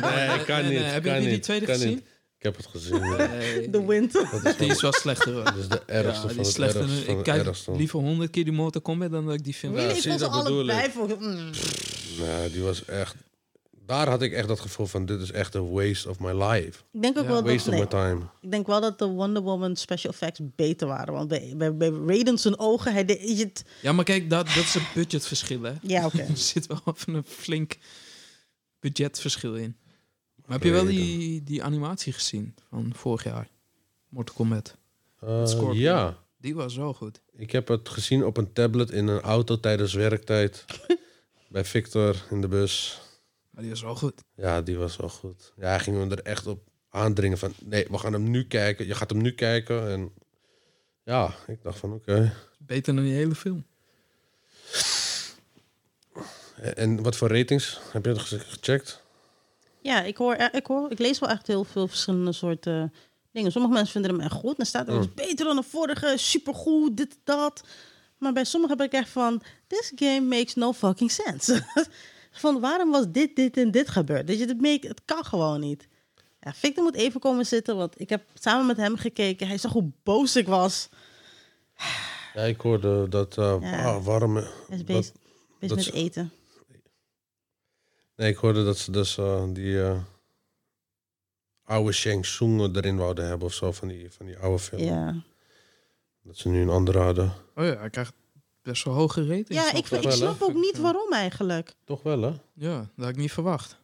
Nee, kan
nee, nee.
niet.
Hebben jullie
kan
die
niet,
tweede
kan
gezien?
niet. Ik heb het gezien. ja.
Nee,
The Wind.
Dat is,
die
gewoon-
is wel slechter hoor.
dat is de ergste
die
van
is
het
slechter.
ergste. van
ik
het
kijk
ergste.
liever honderd keer die Mortal Kombat dan dat ik die film...
Really, ik
zie,
vond ze
dat bedoel
allebei
ik.
voor... Mm.
Nee, die was echt... Daar had ik echt dat gevoel van, dit is echt een waste of my life.
Ik denk ook
Ja,
wel dat...
Waste of
nee.
my time.
Ik denk wel dat de Wonder Woman special effects beter waren. Want bij, bij, bij Raiden zijn ogen, hij deed het...
Ja, maar kijk, dat, dat is een budgetverschil hè.
Ja, oké.
Er zit wel even een flink budgetverschil in. Maar heb je wel die, die animatie gezien van vorig jaar? Mortal Kombat.
Eh,
Scorpion.
ja,
Die was zo goed.
ik heb het gezien op een tablet in een auto tijdens werktijd. bij Victor in de bus.
Maar die was wel goed.
Ja, die was wel goed. Ja, hij ging er echt op aandringen van nee, we gaan hem nu kijken. Je gaat hem nu kijken. En ja, ik dacht van oké.
Beter dan die hele film.
En- En wat voor ratings heb je dat ge- gecheckt?
Ja, ik hoor, eh, ik hoor, ik lees wel echt heel veel verschillende soorten eh, dingen. Sommige mensen vinden hem echt goed. En dan staat er
Mm.
dus beter dan de vorige, supergoed, dit, dat. Maar bij sommigen heb ik echt van, this game makes no fucking sense. van waarom was dit, dit en dit gebeurd? Dat je het make, het kan gewoon niet. Ja, Victor moet even komen zitten, want ik heb samen met hem gekeken. Hij zag hoe boos ik was.
Ja, ik hoorde dat. eh
Ja.
ah, waarom.
Hij is
dat-
bezig, bezig
dat
met
is-
eten.
nee, ik hoorde dat ze dus eh, die. eh, oude Shang Tsung erin wouden hebben of zo van die, van die oude film.
Ja,
Dat ze nu een andere hadden.
Oh ja, hij krijgt best wel hoge ratings.
ja ik,
wel,
ik
hè?
snap ook niet waarom eigenlijk.
Toch wel, hè?
Ja, dat had ik niet verwacht.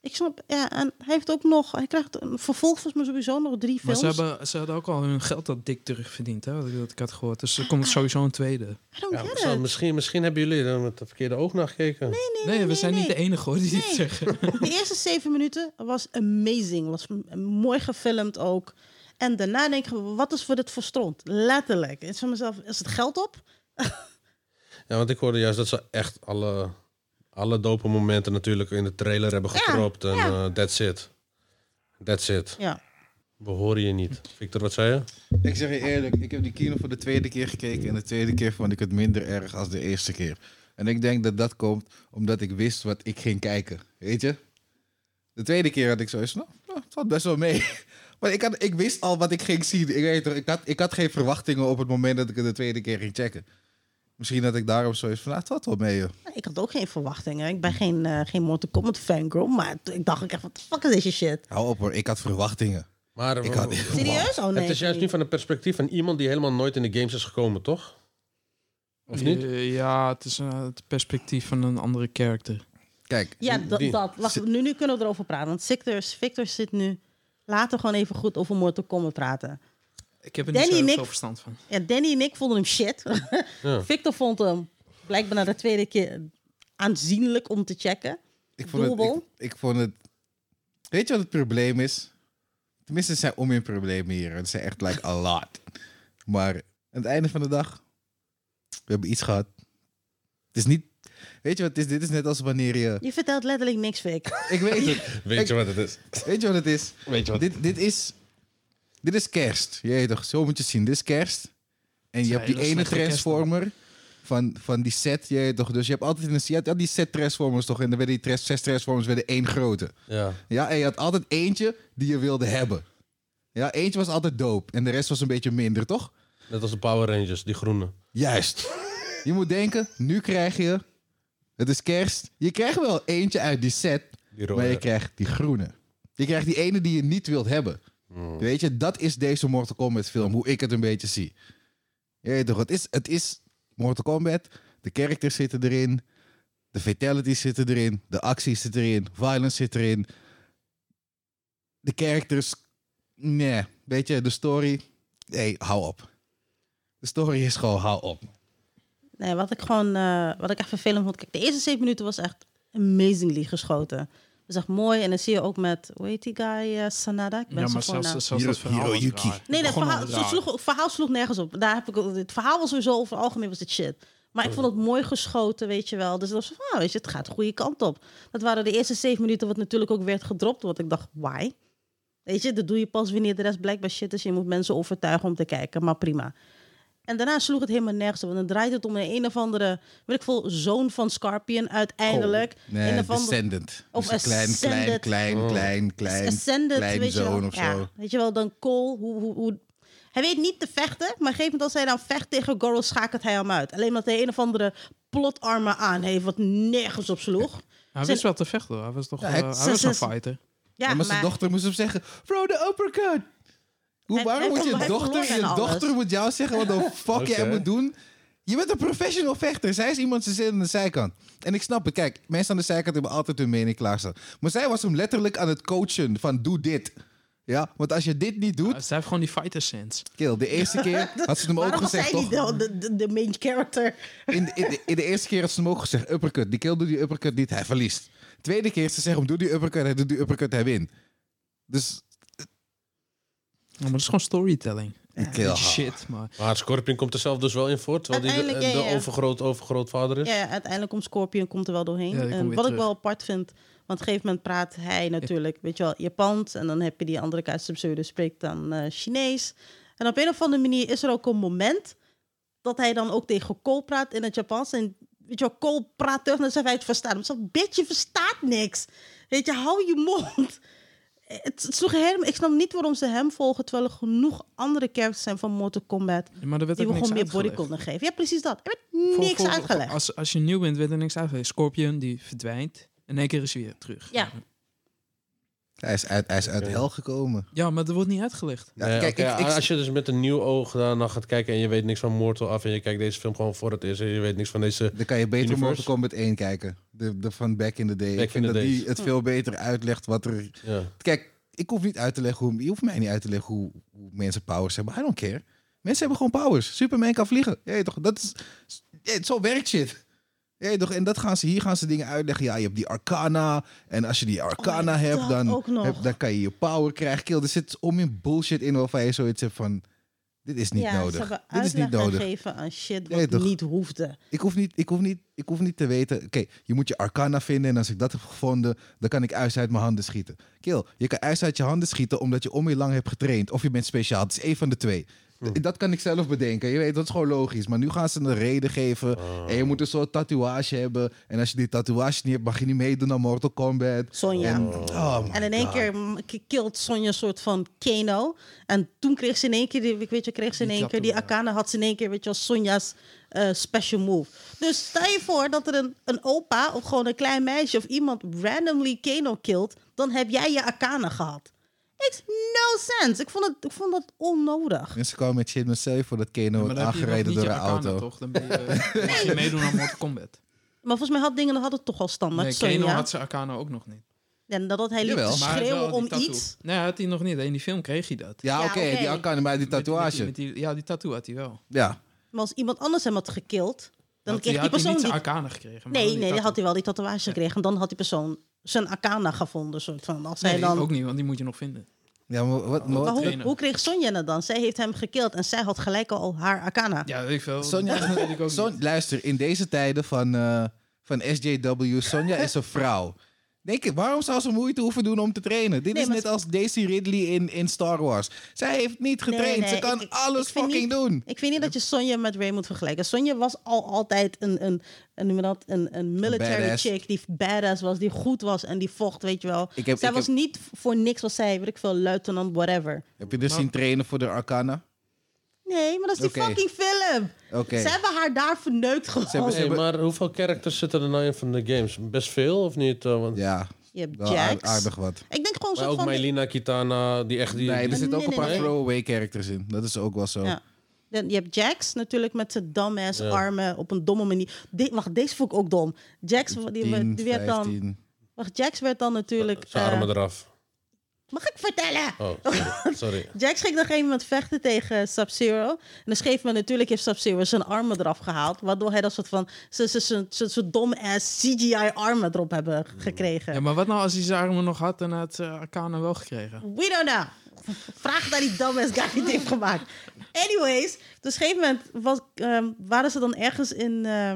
Ik snap, ja, en hij heeft ook nog, hij krijgt een vervolg volgens mij sowieso nog drie
Maar
films.
ze, hebben, ze hadden ook al hun geld dat dik terugverdiend, hè, wat ik- wat ik had gehoord. Dus er komt
Ah.
sowieso een tweede.
I don't
Ja,
get
zo,
it.
misschien, misschien hebben jullie er met de verkeerde oog naar gekeken.
Nee,
Nee,
nee,
we
nee,
zijn niet
nee.
de enige hoor die dit
Nee.
zeggen.
De eerste zeven minuten was amazing. Was m- mooi gefilmd ook. En daarna denk ik, wat is voor dit voor stront? Letterlijk. Is van mezelf, is het geld op?
Ja, want ik hoorde juist dat ze echt alle, alle dope momenten natuurlijk in de trailer hebben
Ja,
gepropt. en
ja.
eh, that's it. That's it.
Ja.
We horen je niet. Victor, wat zei je?
Ik zeg je eerlijk, ik heb die kino voor de tweede keer gekeken. En de tweede keer vond ik het minder erg als de eerste keer. En ik denk dat dat komt omdat ik wist wat ik ging kijken. Weet je? De tweede keer had ik zoiets van, nou, het valt best wel mee. Maar ik, had, ik wist al wat ik ging zien. Ik, weet, toch, ik, had, ik had geen verwachtingen op het moment dat ik het de tweede keer ging checken. Misschien had ik daarom zoiets van, nou, het valt wel mee, joh.
Ik had ook geen verwachtingen. Ik ben geen, eh geen Mortal Kombat fangirl. Maar t- ik dacht ook echt, wat de fuck is deze shit?
Hou op hoor, ik had verwachtingen.
Maar
Ik had niet
Serieus? Oh nee.
het is juist nu van het perspectief van iemand die helemaal nooit in de games is gekomen, toch? Of niet?
Eh, Ja, het is eh, het perspectief van een andere karakter.
Kijk,
Ja, dat-
Die-
dat. Wacht, nu, nu kunnen we erover praten. Want Victor, Victor zit nu... Laten we gewoon even goed over Mortal Kombat praten.
Ik heb er
Danny
niet zo
en
heel
ik-
veel verstand van.
Ja, Danny en ik vonden hem shit.
Ja.
Victor vond hem blijkbaar na de tweede keer aanzienlijk om te checken.
Ik vond, het, ik,
Doable.
ik vond het. Weet je wat het probleem is? Tenminste, het zijn om in problemen hier. Het zijn echt like a lot. Maar aan het einde van de dag, we hebben iets gehad. Het is niet. Weet je wat het is? Dit is net als wanneer je.
Je vertelt letterlijk niks, Vic.
Ik weet het.
Weet je wat het is?
Weet je wat het is?
Weet je wat?
Dit, dit is. Dit is kerst. Je weet toch, zo moet je het zien. Dit is kerst. En je
Ja,
hebt die
hele
ene
slechte kerst, man.
transformer van, van die set. Je weet toch, dus je hebt altijd een, je had al die set transformers toch. En dan werden die trans- zes transformers werden één grote.
Ja.
Ja, en je had altijd eentje die je wilde hebben. Ja, eentje was altijd dope en de rest was een beetje minder, toch?
Net als de Power Rangers, die groene.
Juist. je moet denken, nu krijg je, het is kerst, je krijgt wel eentje uit die set,
Die rode.
maar je krijgt die groene. Je krijgt die ene die je niet wilt hebben. Weet je, dat is deze Mortal Kombat film, hoe ik het een beetje zie. Je weet toch, het is, het is Mortal Kombat, de characters zitten erin, de fatalities zitten erin, de acties zitten erin, violence zit erin. De characters, nee, weet je, de story, nee, hou op. De story is gewoon, hou op.
Nee, wat ik gewoon, eh, wat ik echt vervelend vond. Kijk, de eerste zeven minuten was echt amazingly geschoten. Dat is echt mooi. En dan zie je ook met, hoe heet die guy, eh, Sanada? Ik ben
Ja,
zijn
maar
voornaam.
zelfs, zelfs dat
Hiro-
verhaal was
Hiroyuki.
raar.
Nee, dat
Begon
verhaal,
al
het
raar.
sloeg, het verhaal sloeg nergens op. Daar heb ik, ook- het verhaal was sowieso over het algemeen was het shit. Maar
Oh.
ik vond het mooi geschoten, weet je wel. Dus dat was van, ah, weet je, het gaat de goede kant op. Dat waren de eerste zeven minuten wat natuurlijk ook werd gedropt. Want ik dacht, why? Weet je, dat doe je pas wanneer de rest blijkbaar shit is. Je moet mensen overtuigen om te kijken, maar prima. En daarna sloeg het helemaal nergens op. Want dan draait het om een, een of andere, weet ik veel, zoon van Scorpion uiteindelijk.
Oh.
Oh, Nee,
een of andere-
Descendant.
Of
Dus een klein, klein,
Ascended. Oh.
klein, klein, klein,
Dus Ascended,
klein
weet je wel.
zoon of
Ja,
zo.
Weet je wel, dan Cole, hoe, hoe, hoe... Hij weet niet te vechten, maar op een gegeven moment als hij dan vecht tegen Goro, schakelt hij hem uit. Alleen omdat hij een of andere plotarmen aan heeft, wat nergens op sloeg.
Hij
Zijn-
wist wel te vechten hoor. Hij was toch
Ja,
eh,
het-
hij
zijn-
was een
zijn-
fighter.
Ja,
en maar
maar,
zijn dochter moest hem zeggen, throw the uppercut. Hoe,
Hij-
waarom
hij
moet
verlo-
je
hij
dochter,
verloor
je
aan
dochter
alles.
moet jou zeggen wat de fuck jij
Oké.
moet doen? Je bent een professional vechter. Zij is iemand zijn zin aan de zijkant. En ik snap het. Kijk, mensen aan de zijkant hebben altijd hun mening klaarstaan. Maar zij was hem letterlijk aan het coachen van doe dit. Ja, want als je dit niet doet,
Hij heeft gewoon die fighter sense.
kill. De eerste keer had ze hem ook
waarom was
gezegd,
hij
toch?
niet de, de- de, de main character?
In de, in, de, in de eerste keer had ze hem ook gezegd, uppercut. Die kill doet die uppercut niet, hij verliest. Tweede keer ze zeggen hem, doe die uppercut, hij doet die uppercut, hij wint. Dus
maar dat is gewoon storytelling.
Kill.
ah.
Shit, maar...
Maar Scorpion komt er zelf dus wel in voor, terwijl hij de,
Uiteindelijk, ja,
de
ja.
overgroot, overgrootvader is.
Ja, ja, uiteindelijk komt Scorpion komt er wel doorheen.
Ja, die komt
en
weer
wat ik wel apart vind, want op een gegeven moment praat hij natuurlijk, weet je wel, Japans. En dan heb je die andere kaart Pseudo spreekt dan eh, Chinees. En op een of andere manier is er ook een moment dat hij dan ook tegen Cole praat in het Japans. En weet je wel, Cole praat terug en dan hij het verstaan. Maar zo'n bitch, je verstaat niks. Weet je, hou je mond. Het het sloeg helemaal. Ik snap niet waarom ze hem volgen, terwijl er genoeg andere characters zijn van Mortal Kombat
Ja, maar er werd
die
ook
we
niks
gewoon meer
uitgelegd.
bodycon geven. Ja, precies dat. Er werd
Voor-
niks
voor-
uitgelegd.
Als, als je nieuw bent, werd er niks uitgelegd. Scorpion, die verdwijnt. In één keer is hij weer terug.
Ja.
Hij is uit, hij is uit hel gekomen.
Ja, maar dat wordt niet uitgelegd.
Ja,
Nee,
kijk,
oké,
ik, ik,
als je dus met een nieuw oog daarna gaat kijken en je weet niks van Mortal af en je kijkt deze film gewoon voor het is en je weet niks van deze...
dan kan je beter
Universe.
Mortal Kombat 1 kijken. De, de van Back in the Day.
Back
ik vind
in
dat
the
die
Days.
het veel beter uitlegt wat er...
Ja.
Kijk, ik hoef niet uit te leggen hoe... Je hoeft mij niet uit te leggen hoe, hoe mensen powers hebben. I don't care. Mensen hebben gewoon powers. Superman kan vliegen. Ja, toch, dat is... ja, zo werkt shit. Ja, toch, en dat gaan ze, hier gaan ze dingen uitleggen. Ja, je hebt die Arcana. En als je die Arcana
ja,
hebt,
Oh, dat
dan,
ook nog.
heb- dan kan je je power krijgen. Kill, er zit om in bullshit in waarvan je zoiets hebt van... Dit is niet
ja, Ze
nodig.
hebben
Dit is niet
uitleg
nodig.
gegeven aan shit
Nee,
wat
toch?
niet hoefde.
Ik hoef niet, ik hoef niet, ik hoef niet te weten. Oké, je moet je arcana vinden. En als ik dat heb gevonden, dan kan ik ijs uit mijn handen schieten. Kill, je kan ijs uit je handen schieten omdat je om je lang hebt getraind. Of je bent speciaal. Het is één van de twee. D- Dat kan ik zelf bedenken. Je weet, dat is gewoon logisch. Maar nu gaan ze een reden geven. En je moet een soort tatoeage hebben. En als je die tatoeage niet hebt, mag je niet meedoen aan Mortal Kombat.
Sonja.
En, oh my
En in één keer mm, k- killed Sonja een soort van Kano. En toen kreeg ze in één keer, die, ik weet je, kreeg ze in
Die
één keer, die
tattoo,
Akana had ze in één keer, weet je wel, Sonja's eh, special move. Dus stel je voor dat er een, een opa of gewoon een klein meisje of iemand randomly Kano killt, dan heb jij je Akana gehad. Makes no sense. Ik vond, het, ik vond dat onnodig.
Mensen komen met shit, maar stel je voor dat Keno
maar
wordt
dan heb je nog
aangereden
niet
door een
je arcana,
auto.
toch? Dan ben je, mag je meedoen aan Mortal Kombat.
Maar volgens mij had dingen dat hadden toch al standaard
Nee, Kano
Sonja.
had zijn arcana ook nog niet.
En dat had hij liep
Jawel.
te
Maar wel
schreeuwen
die
om
tattoo.
iets.
Nee, had hij nog niet. In die film kreeg hij dat.
Ja,
Ja,
oké,
oké.
die arcana, maar die
Met- met die-
tatoeage.
met die- ja, die tattoo had hij wel.
Ja.
Maar als iemand anders hem had gekild, dan kreeg
Had- die
die
had hij
persoon
niet
die...
zijn arcana gekregen. maar
Nee,
die
nee, dan
tattoo.
had hij wel die tatoeage gekregen. En dan had die persoon zijn arcana gevonden, soort van. Als hij
Nee,
dan...
ook niet, want die moet je nog vinden.
Ja, maar wat, maar
Maar
wat-
hoe,
trainen.
hoe kreeg Sonja dat dan? Zij heeft hem gekild en zij had gelijk al haar arcana.
Ja, weet ik veel.
Sonja,
dat weet ik ook
Son-
niet.
luister, in deze tijden van, eh, van SJW, Sonja is een vrouw. Denk ik, waarom zou ze moeite hoeven doen om te trainen? Dit
Nee,
is
maar
net
ze-
als Daisy Ridley in, in Star Wars. Zij heeft niet
Nee,
getraind.
nee,
ze kan
ik- ik-
alles
ik vind
fucking
niet-
doen.
Ik vind niet dat je Sonja met Ray moet vergelijken. Sonja was al altijd een, een, een, noem je dat, een, een military
Badass.
chick die badass was, die goed was en die vocht, weet je wel.
Ik heb-
zij
ik
was
heb-
niet voor niks, was zij, weet ik veel, luitenant, whatever.
Heb je dus
Maar-
zien trainen voor de Arcana?
Nee, maar dat is die
Oké.
fucking film.
Oké.
Ze hebben haar daar verneukt gewoon.
hebben
Hey, maar hoeveel characters zitten er nou in van de games? Best veel of niet? Eh, want,
Ja,
Je hebt
wel aard-
Jax.
aardig wat.
Ik denk gewoon
maar
zo
ook
van...
Melina, Kitana, die echt... Die,
Nee, er
die-
zitten ook
nee,
een paar
nee, nee.
throwaway characters in. Dat is ook wel zo.
Ja. Dan- Je hebt Jax natuurlijk met zijn dumbass
Ja.
armen op een domme manier. De- wacht, deze vond ik ook dom. Jax, die,
10,
die werd dan,
15.
wacht, Jax werd dan natuurlijk...
zijn
eh,
armen eraf.
mag ik vertellen?
Oh, sorry. sorry.
Jax ging op een gegeven moment vechten tegen Sub-Zero. En dan schreef me natuurlijk heeft Sub-Zero zijn armen eraf gehaald. Waardoor hij dat soort van... Zijn ze, ze, ze, ze dom-ass CGI-armen erop hebben gekregen.
Ja, maar wat nou als hij zijn armen nog had en had zijn arcana wel gekregen?
We don't know. Vraag naar die dumbass guy die het heeft gemaakt. Anyways, dus op een gegeven moment was, ehm, waren ze dan ergens in, eh,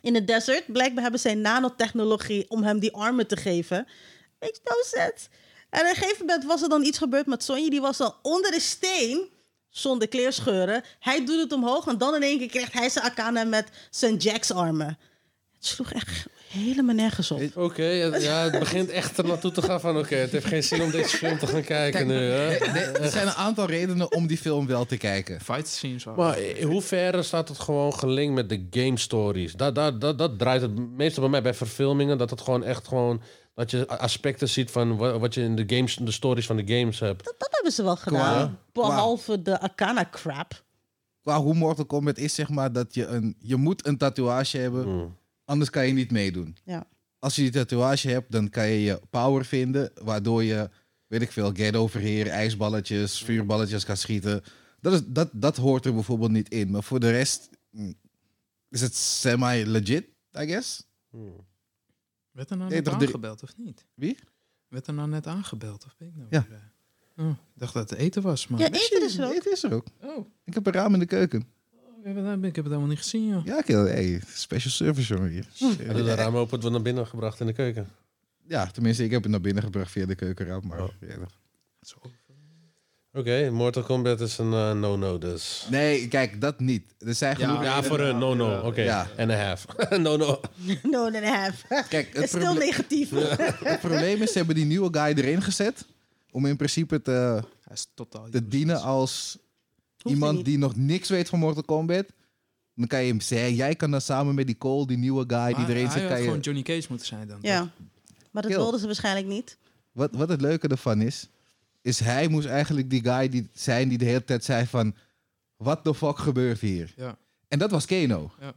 in de desert. Blijkbaar hebben zij nanotechnologie om hem die armen te geven. Makes no sense. En op een gegeven moment was er dan iets gebeurd met Sonja. Die was al onder de steen zonder kleerscheuren. Hij doet het omhoog en dan in één keer krijgt hij zijn Akana met zijn Jax-armen. Het sloeg echt helemaal nergens op.
Oké, het- ja, het begint echt er naartoe te gaan van... Oké, het heeft geen zin om deze film te gaan kijken nu, hè?
Er er zijn een aantal redenen om die film wel te kijken.
Fight scenes waren.
Maar
eh,
in hoeverre staat het gewoon gelinkt met de game stories? Dat, dat, dat, dat draait het meestal bij mij bij verfilmingen. Dat het gewoon echt gewoon... Dat je a- aspecten ziet van wa- wat je in de, games, de stories van de games hebt.
Dat, dat hebben ze wel gedaan. Behalve de Akana-crap.
qua hoe Mortal Kombat is, zeg maar, dat je een, je moet een tatoeage hebben,
Mm. Hmm.
anders kan je niet meedoen.
Ja.
Als je die tatoeage hebt, dan kan je je power vinden, waardoor je, weet ik veel, ghetto verheer, ijsballetjes, vuurballetjes kan schieten. Dat, is, dat, dat hoort er bijvoorbeeld niet in, maar voor de rest mm, is het semi-legit, I guess.
Hmm.
Werd er nou
Nee,
net
toch, drie-
aangebeld of niet?
Wie?
Werd er nou net aangebeld of ben ik nou
Ja.
weer, eh? Oh, ik dacht dat het eten was, maar...
Ja, eten is er ook.
Het is er ook.
Oh,
Ik heb een raam in de keuken.
ik heb het ik heb het helemaal niet gezien, joh.
Ja, kerel, hey, special service jongen hier.
Hadden de ramen open, het wordt naar binnen gebracht in de keuken.
Ja, tenminste, ik heb het naar binnen gebracht via de keukenraam. Maar
Oh.
ja,
Zo.
Oké, Mortal Kombat is een eh, no-no dus.
Nee, kijk, dat niet. Er zijn
Ja.
genoeg...
Ja, voor een no-no. Oké,
Ah, Ja.
en een half. no-no.
No and a half.
Kijk,
Het
het,
is stil
proble-
negatief.
het probleem is, ze hebben die nieuwe guy erin gezet... om in principe te,
Hij is totaal...
te dienen als
Hoeft
iemand
niet.
die nog niks weet van Mortal Kombat. Dan kan je hem zeggen, jij kan dan samen met die Cole, die nieuwe guy die
Maar
erin
hij
zit...
had
Kan je...
gewoon Johnny Cage moeten zijn dan.
Ja. Maar dat
Kill.
wilden ze waarschijnlijk niet.
wat, wat het leuke ervan is, is hij moest eigenlijk die guy die zijn die de hele tijd zei van... What the fuck gebeurt hier?
Ja.
En dat was Kano.
Ja.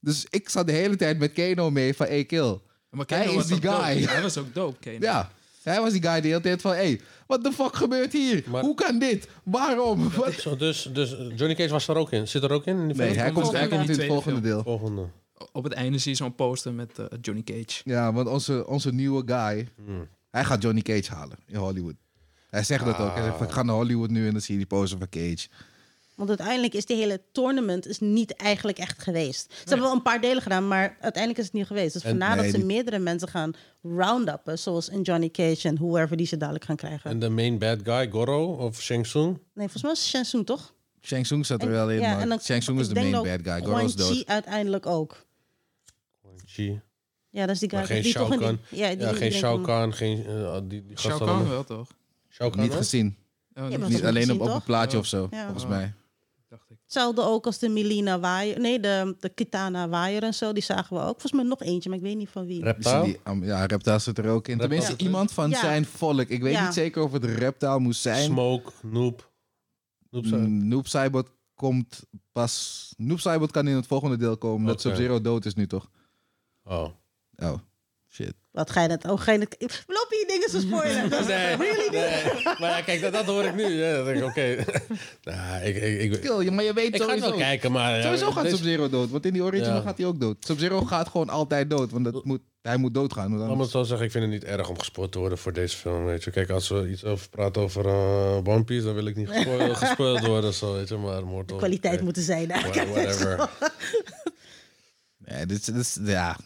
Dus ik zat de hele tijd met Kano mee van, hey kill.
Maar nou
Hij
Kano
is
was
die
ook dope.
guy.
Hij was ook dope, Kano.
Ja, hij was die guy die de hele tijd van, hey, what the fuck gebeurt hier?
Maar-
Hoe kan dit? Waarom? Wat?
Zo, dus, dus Johnny Cage was er ook in. Zit er ook in? in die
Nee,
film?
hij komt, hij
Volgende
komt in het
tweede
volgende deel.
Volgende.
Op het einde zie je zo'n poster met eh, Johnny Cage.
Ja, want onze, onze nieuwe guy,
Hmm.
hij gaat Johnny Cage halen in Hollywood. Hij zegt dat ook. Hij zegt van, ik ga naar Hollywood nu en dan zie je die pose van Cage.
Want uiteindelijk is die hele tournament is niet eigenlijk echt geweest. Ze hebben wel een paar delen gedaan, maar uiteindelijk is het niet geweest. Dus vandaar
nee,
dat ze
die-
meerdere mensen gaan round-uppen, zoals in Johnny Cage en whoever die ze dadelijk gaan krijgen.
En de main bad guy, Goro of Shang Tsung?
Nee, volgens mij is Shang Tsung toch?
Shang Tsung zat er wel in,
ja, en
maar
dan-
Shang Tsung is
ik
de
denk
main
dat
bad guy. Goro's
Quan Chi
dood.
uiteindelijk ook.
Chi.
Ja, dat is die guy.
Maar geen
die
Shao
toch in
Kahn.
die, ja, die
Ja, geen
iedereen
Shao
kon-
Kahn, geen... eh, die, die
Shao
gasten
Kahn
allemaal.
wel, toch?
Shao Kahn
Niet
ook?
gezien.
Oh, niet
maar
gezien,
dat
Niet alleen
gezien,
op, op een
toch?
plaatje
Ja.
of zo,
Ja.
volgens
Oh.
mij.
dacht ik.
Hetzelfde ook als de Melina Waaier. Nee, de, de Kitana Waaier en zo, die zagen we ook. Volgens mij nog eentje, maar ik weet niet van wie.
Je ziet
Reptile?
die- am- ja, Reptile zit er ook in.
Reptile
Tenminste,
zit er.
iemand van
Ja.
zijn volk. Ik weet
Ja.
niet zeker of het Reptile moest zijn.
Smoke, Noob. Noob
Mm,
zijn.
Noob Saibot komt pas... Noob Saibot kan in het volgende deel komen. Dat
Oké.
Sub-Zero dood is nu, toch?
Oh.
Oh, shit.
Wat ga je dat? Oh, ga je dat? We lopen hier dingen te spoilen. Dat is-
Nee, nee. Maar ja, kijk, dat, dat hoor ik nu. Ja, dan denk ik, oké. Nou, ik, ik, ik, ik,
Kill, je- maar je weet
ga het
sowieso.
wel kijken, maar... ja,
Sowieso gaat
deze-
Sub-Zero dood, want in die original
Ja.
gaat hij ook dood. Sub-Zero gaat gewoon altijd dood, want dat moet, hij moet doodgaan. want
Laat me het
anders-
zo zeggen, ik vind het niet erg om gespoord te worden voor deze film, weet je. Kijk, als we iets over praten over eh, One Piece, dan wil ik niet gespo- gespoord worden, zo, weet je. Maar Mortal...
Kwaliteit
oké,
moeten zijn. hè.
wha- Whatever.
Nee, dit, is- dit is- ja,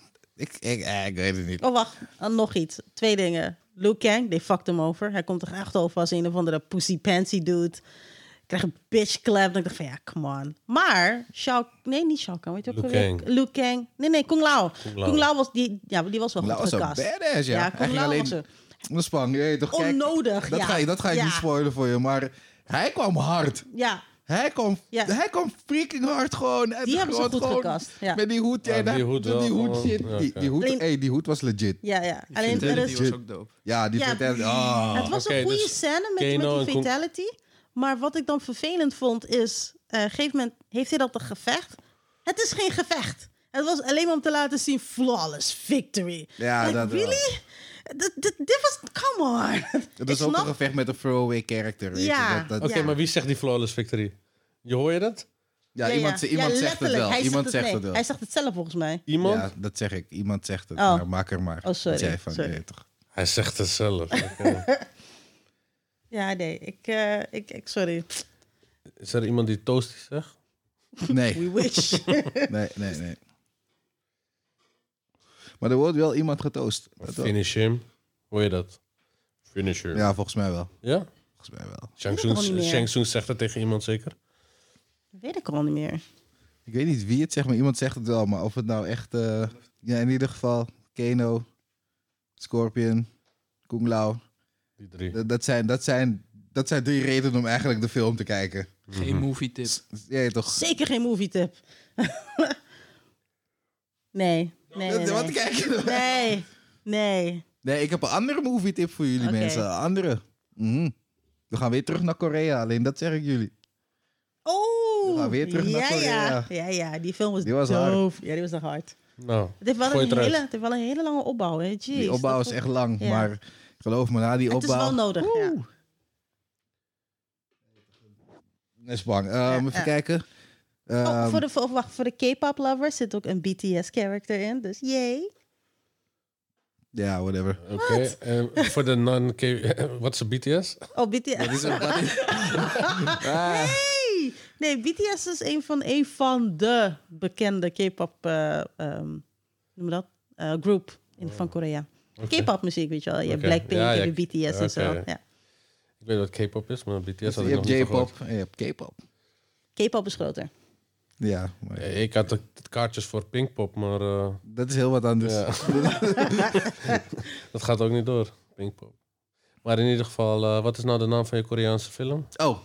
ik, ik, eh, ik weet het niet.
Oh, wacht. Ah, nog iets. Twee dingen. Liu Kang, die fucked hem over. Hij komt er echt over als een of andere pussy pansy dude. Ik krijg een bitch clap. En ik dacht van, ja, come on. Maar, Shao... Nee, niet Shao Kahn. Weet je ook
Liu
alweer?
Kang.
Liu Kang. Nee, nee, Kung Lao.
Kung Lao.
Kung Lao was, die, ja, die
Oh,
was wel
Kung Lao
goed
was een
gecast.
badass, ja.
Ja,
Hij
Kung
ging
Lao
alleen-
was er.
Dat spang, je weet toch, kijk,
Onnodig,
dat
ja.
Ga, je- dat ga ik
Ja.
niet spoilen voor je, maar hij kwam hard.
Ja,
Hij kwam,
Ja.
hij kwam freaking hard gewoon. en
Die hebben ze
gewoon-
goed
gewoon
gecast, ja.
Met die hoed.
Ja,
en
die
hij-
hoed
met
wel
die hoed
gewoon.
shit.
Ja,
die,
oké.
die, hoed
Alleen-
hey, die hoed was legit.
ja, ja.
Die
Alleen, er
Fatality
is...
shit.
was ook dope.
Ja, die
Ja.
vertelde- ah.
Het was
Oké,
een goede
dus
scène met,
Kano
met die
en Kung-
fatality. Maar wat ik dan vervelend vond is... eh, op een gegeven moment heeft hij dat een gevecht. Het is geen gevecht. Het was alleen maar om te laten zien... flawless victory.
Ja,
Like,
dat wel.
really? Dit- dit- Dit was... Come on.
Dat is
Ik
ook
snap-
een gevecht met een throwaway character. weet je.
Ja.
Dat- dat-
Oké,
Ja.
maar wie zegt die flawless victory? Je hoor je dat?
Ja,
Ja,
iemand,
ja.
iemand
Ja,
zegt het
letterlijk.
wel.
Hij
iemand zegt
nee,
het wel.
Hij zegt het zelf volgens mij.
Iemand?
Ja, dat zeg ik. Iemand zegt het.
Oh.
Maar maak er maar.
Oh, sorry,
Dat jij van,
sorry.
nee, toch.
Hij zegt het zelf. Oké.
Ja, nee. Ik, eh, ik, ik sorry.
Is er iemand die toasty zegt?
Nee,
We wish.
nee, nee, nee. Maar er wordt wel iemand getoost. Dat wel.
Finish him. Hoor je dat? Finish him. Ja?
Ja, volgens mij wel. Volgens mij wel.
Shang
Ik weet het al niet
Tsung-
meer.
Shang Tsung zegt dat tegen iemand zeker?
Weet ik al niet meer.
Ik weet niet wie het zegt, maar iemand zegt het wel. Maar of het nou echt... eh, ja, in ieder geval Kano, Scorpion, Kung Lao.
Die drie.
Dat, dat, zijn, dat, zijn, dat zijn drie redenen om eigenlijk de film te kijken.
Geen
Mhm.
movie tip.
Ja, toch?
Zeker geen movie tip. nee. Nee, nee,
Wat
nee.
kijk je nou?
Nee. Nee.
Nee, ik heb een andere movie tip voor jullie
Oké.
mensen. Een andere. Mhm. We gaan weer terug naar Korea, alleen dat zeg ik jullie.
Oh!
We gaan weer terug naar
ja,
Korea.
Ja. ja, ja, die film was,
Die was
doof. Ja, die was nog hard.
Nou,
Het heeft, wel
gooi het
een
eruit.
hele, het heeft wel een hele lange opbouw, hè? Jeez,
die opbouw
dat
is
vond-
echt lang,
Ja.
maar geloof me, na die
Het
opbouw...
is wel nodig, ja.
Dat is bang. Ehm, even
ja.
kijken.
Oh,
Ehm,
voor de, voor, wacht, voor de K-pop lovers zit ook een BTS-character in, dus yay.
Ja, whatever.
Oké, en voor de non Wat is een BTS?
Oh, BTS.
Ah.
Nee! Nee, BTS is een van, een van de bekende K-pop, eh, ehm, noem je dat, Eh, groep in, van Korea.
Oh. Oké.
K-pop muziek, weet je wel. Je hebt
Oké.
Blackpink,
Ja,
je
ja,
hebt BTS
oké.
en zo. Ja.
Ik weet wat K-pop is, maar BTS had
je
ik nog
hebt
niet van gehoord.
J-pop en je hebt K-pop.
K-pop is groter.
Ja, maar
Eh, Ik had het kaartjes voor Pinkpop, maar eh,
dat is heel wat anders.
ja. dat gaat ook niet door, Pinkpop. Maar in ieder geval, eh, wat is nou de naam van je Koreaanse film?
Oh,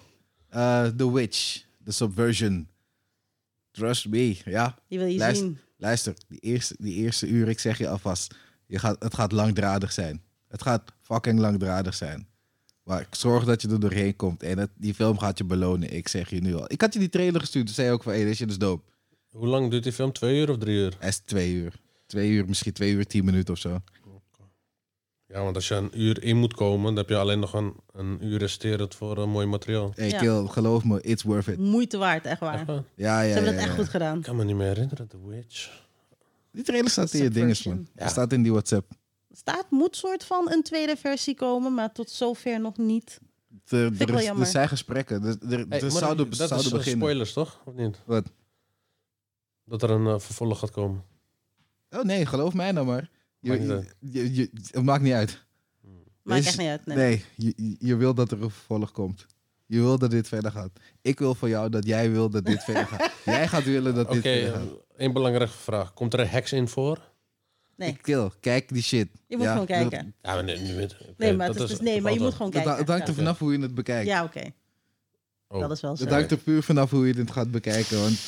eh, The Witch, The Subversion. Trust me, ja.
Die wil je
Luister.
zien.
Luister, die eerste, die eerste uur, ik zeg je alvast, je gaat, het gaat langdradig zijn. Het gaat fucking langdradig zijn. Maar ik zorg dat je er doorheen komt en het, die film gaat je belonen, ik zeg je nu al. Ik had je die trailer gestuurd, toen zei je ook van, hé, hey, dit shit is dope.
Hoe lang duurt die film? Twee uur of drie uur?
Hij is twee uur. Twee uur, misschien twee uur, tien minuten of zo.
Ja, want als je een uur in moet komen, dan heb je alleen nog een, een uur resterend voor eh, mooi materiaal.
Hey,
Ja.
kill, geloof me, it's worth it.
Moeite waard, echt waar.
Echt waar?
Ja,
Ze
ja, ja.
hebben dat
ja.
echt goed gedaan.
Ik kan me niet meer herinneren, The Witch.
Die trailer staat in je dinges, man.
Subversion.
Ja. Staat in die WhatsApp.
Staat moet soort van een tweede versie komen, maar tot zover nog niet.
Er,
ik
er
wel
is- er
jammer.
zijn gesprekken. Er, er,
Hey,
er
maar
zouden,
dat
zouden
is eh,
beginnen.
spoilers, toch? Of niet?
Wat?
Dat er een eh, vervolg gaat komen.
Oh nee, geloof mij nou maar. Je,
Maakt niet
je-
uit.
je- je- het maakt niet uit.
Maakt
Is-
echt niet uit. Nee.
Nee, je, je- je wil dat er een vervolg komt. Je wil dat dit verder gaat. Ik wil van jou dat jij wil dat dit verder gaat. Jij gaat willen dat
Oké, eh,
dit verder gaat.
één belangrijke vraag. Komt er een heks in voor?
Nee.
Ik wil, kijk die shit.
Je moet
Ja,
gewoon
dat-
kijken.
Ja, maar nee, nu weet oké,
Nee, maar,
dat
het is, dus,
is-
nee, maar je
valt
moet
wel.
gewoon
Dat,
kijken.
dat hangt er
ja,
vanaf hoe je het bekijkt.
Ja, oké.
Oh.
Dat is wel zo.
Dat hangt er puur vanaf hoe je dit gaat bekijken. Want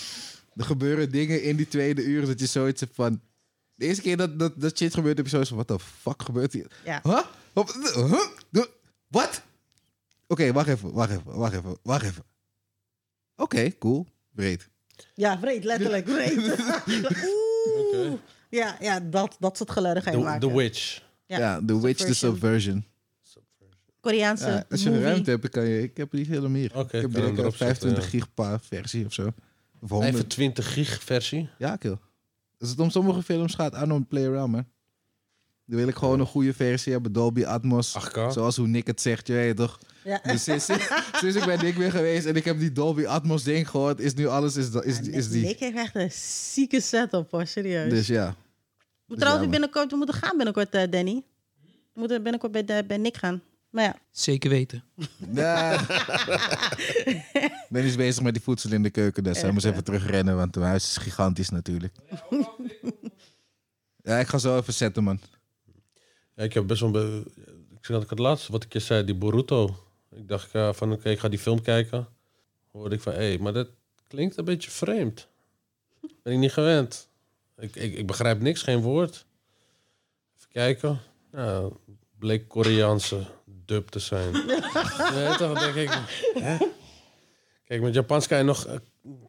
er gebeuren dingen in die tweede uur dat je zoiets hebt van... De eerste keer dat, dat, dat shit gebeurt, heb je zoiets van... Wat de fuck gebeurt hier?
Ja.
Huh? Wat? Huh? De- Wat? Oké, wacht even, wacht even, wacht even, wacht even. Oké, cool. Breed.
Ja, vreed, letterlijk. Vreed. Oeh. Ja, ja dat, dat soort geluiden ga je
The,
maken.
The Witch.
Ja,
Ja, The Witch, The
Subversion.
Subversion.
Koreaanse
Ja, als je
movie.
ruimte hebt, dan kan je... Ik heb die film hier.
Oké,
ik
kan
heb
hem
direct
erop
een
zetten,
25
ja.
gigpa versie of zo. Of
Even
100.
20 gig versie.
Ja, kill. Als het om sommige films gaat, I don't play around, man. Dan wil ik gewoon een goede versie hebben, Dolby Atmos.
8K.
Zoals hoe Nick het zegt, je weet toch.
Ja.
Dus sinds, sinds ik bij Nick ben geweest en ik heb die Dolby Atmos ding gehoord, is nu alles is, da- is,
Ja,
is,
Nick-
die.
Nick heeft echt een zieke setup, hoor. Serieus.
Dus ja.
Maar trouwens,
ja, man.
binnenkort, we moeten gaan binnenkort, eh, Danny. We moeten binnenkort bij, de- bij Nick gaan. Maar ja,
Zeker weten.
Nah. ben eens bezig met die voedsel in de keuken, dus hij moest even terugrennen, want mijn huis is gigantisch natuurlijk. ja, ik ga zo even zetten, man.
Ja, ik heb best wel... be- Ik zeg dat ik het laatste, wat ik je zei, die Boruto. Ik dacht eh, van, oké, ik ga die film kijken. Hoorde ik van, hé, maar dat klinkt een beetje vreemd. Ben ik niet gewend. Ik, ik, ik begrijp niks, geen woord. Even kijken. Ja, bleek Koreaanse dub te zijn. nee, toch denk ik... hè? Kijk, met Japans kan je nog een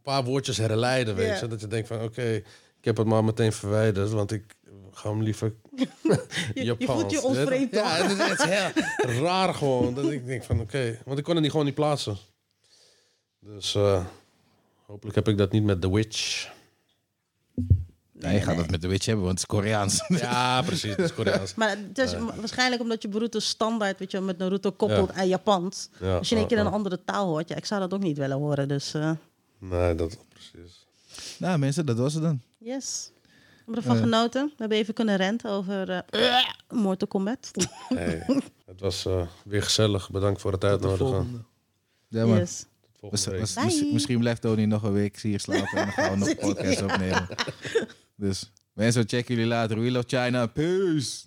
paar woordjes herleiden, weet
Ja.
je. Dat je denkt van, oké, ik heb het maar meteen verwijderd, want ik ga hem liever
je, je
Japans,
voelt je
weet
onvreemd,
toch?
toch?
Ja, het is, het is heel raar gewoon. Dat ik denk van, oké. Want ik kon het niet gewoon niet plaatsen. Dus eh, hopelijk heb ik dat niet met The Witch.
Nee, je gaat dat met de witch hebben, want het is Koreaans.
Ja, precies. Dat is Koreaans.
Maar het is wa- waarschijnlijk omdat je Boruto standaard weet je, wel, met Naruto koppelt
Ja.
aan Japans.
Ja,
Als je in één
ja,
keer een
ja.
andere taal hoort. Ja, ik zou dat ook niet willen horen. Dus eh,
Nee, dat precies.
nou mensen, dat was het dan.
yes. We hebben ervan genoten. We hebben even kunnen renten over eh Mortal Kombat.
Hey, het was eh, weer gezellig. Bedankt voor het
De
uitnodigen.
volgende.
Ja, man.
yes.
Tot volgende week.
Was- was-
Bye.
misschien- misschien blijft Tony nog een week hier slapen en dan gaan we nog een podcast opnemen. Dus mensen, check jullie later. We love China. Peace.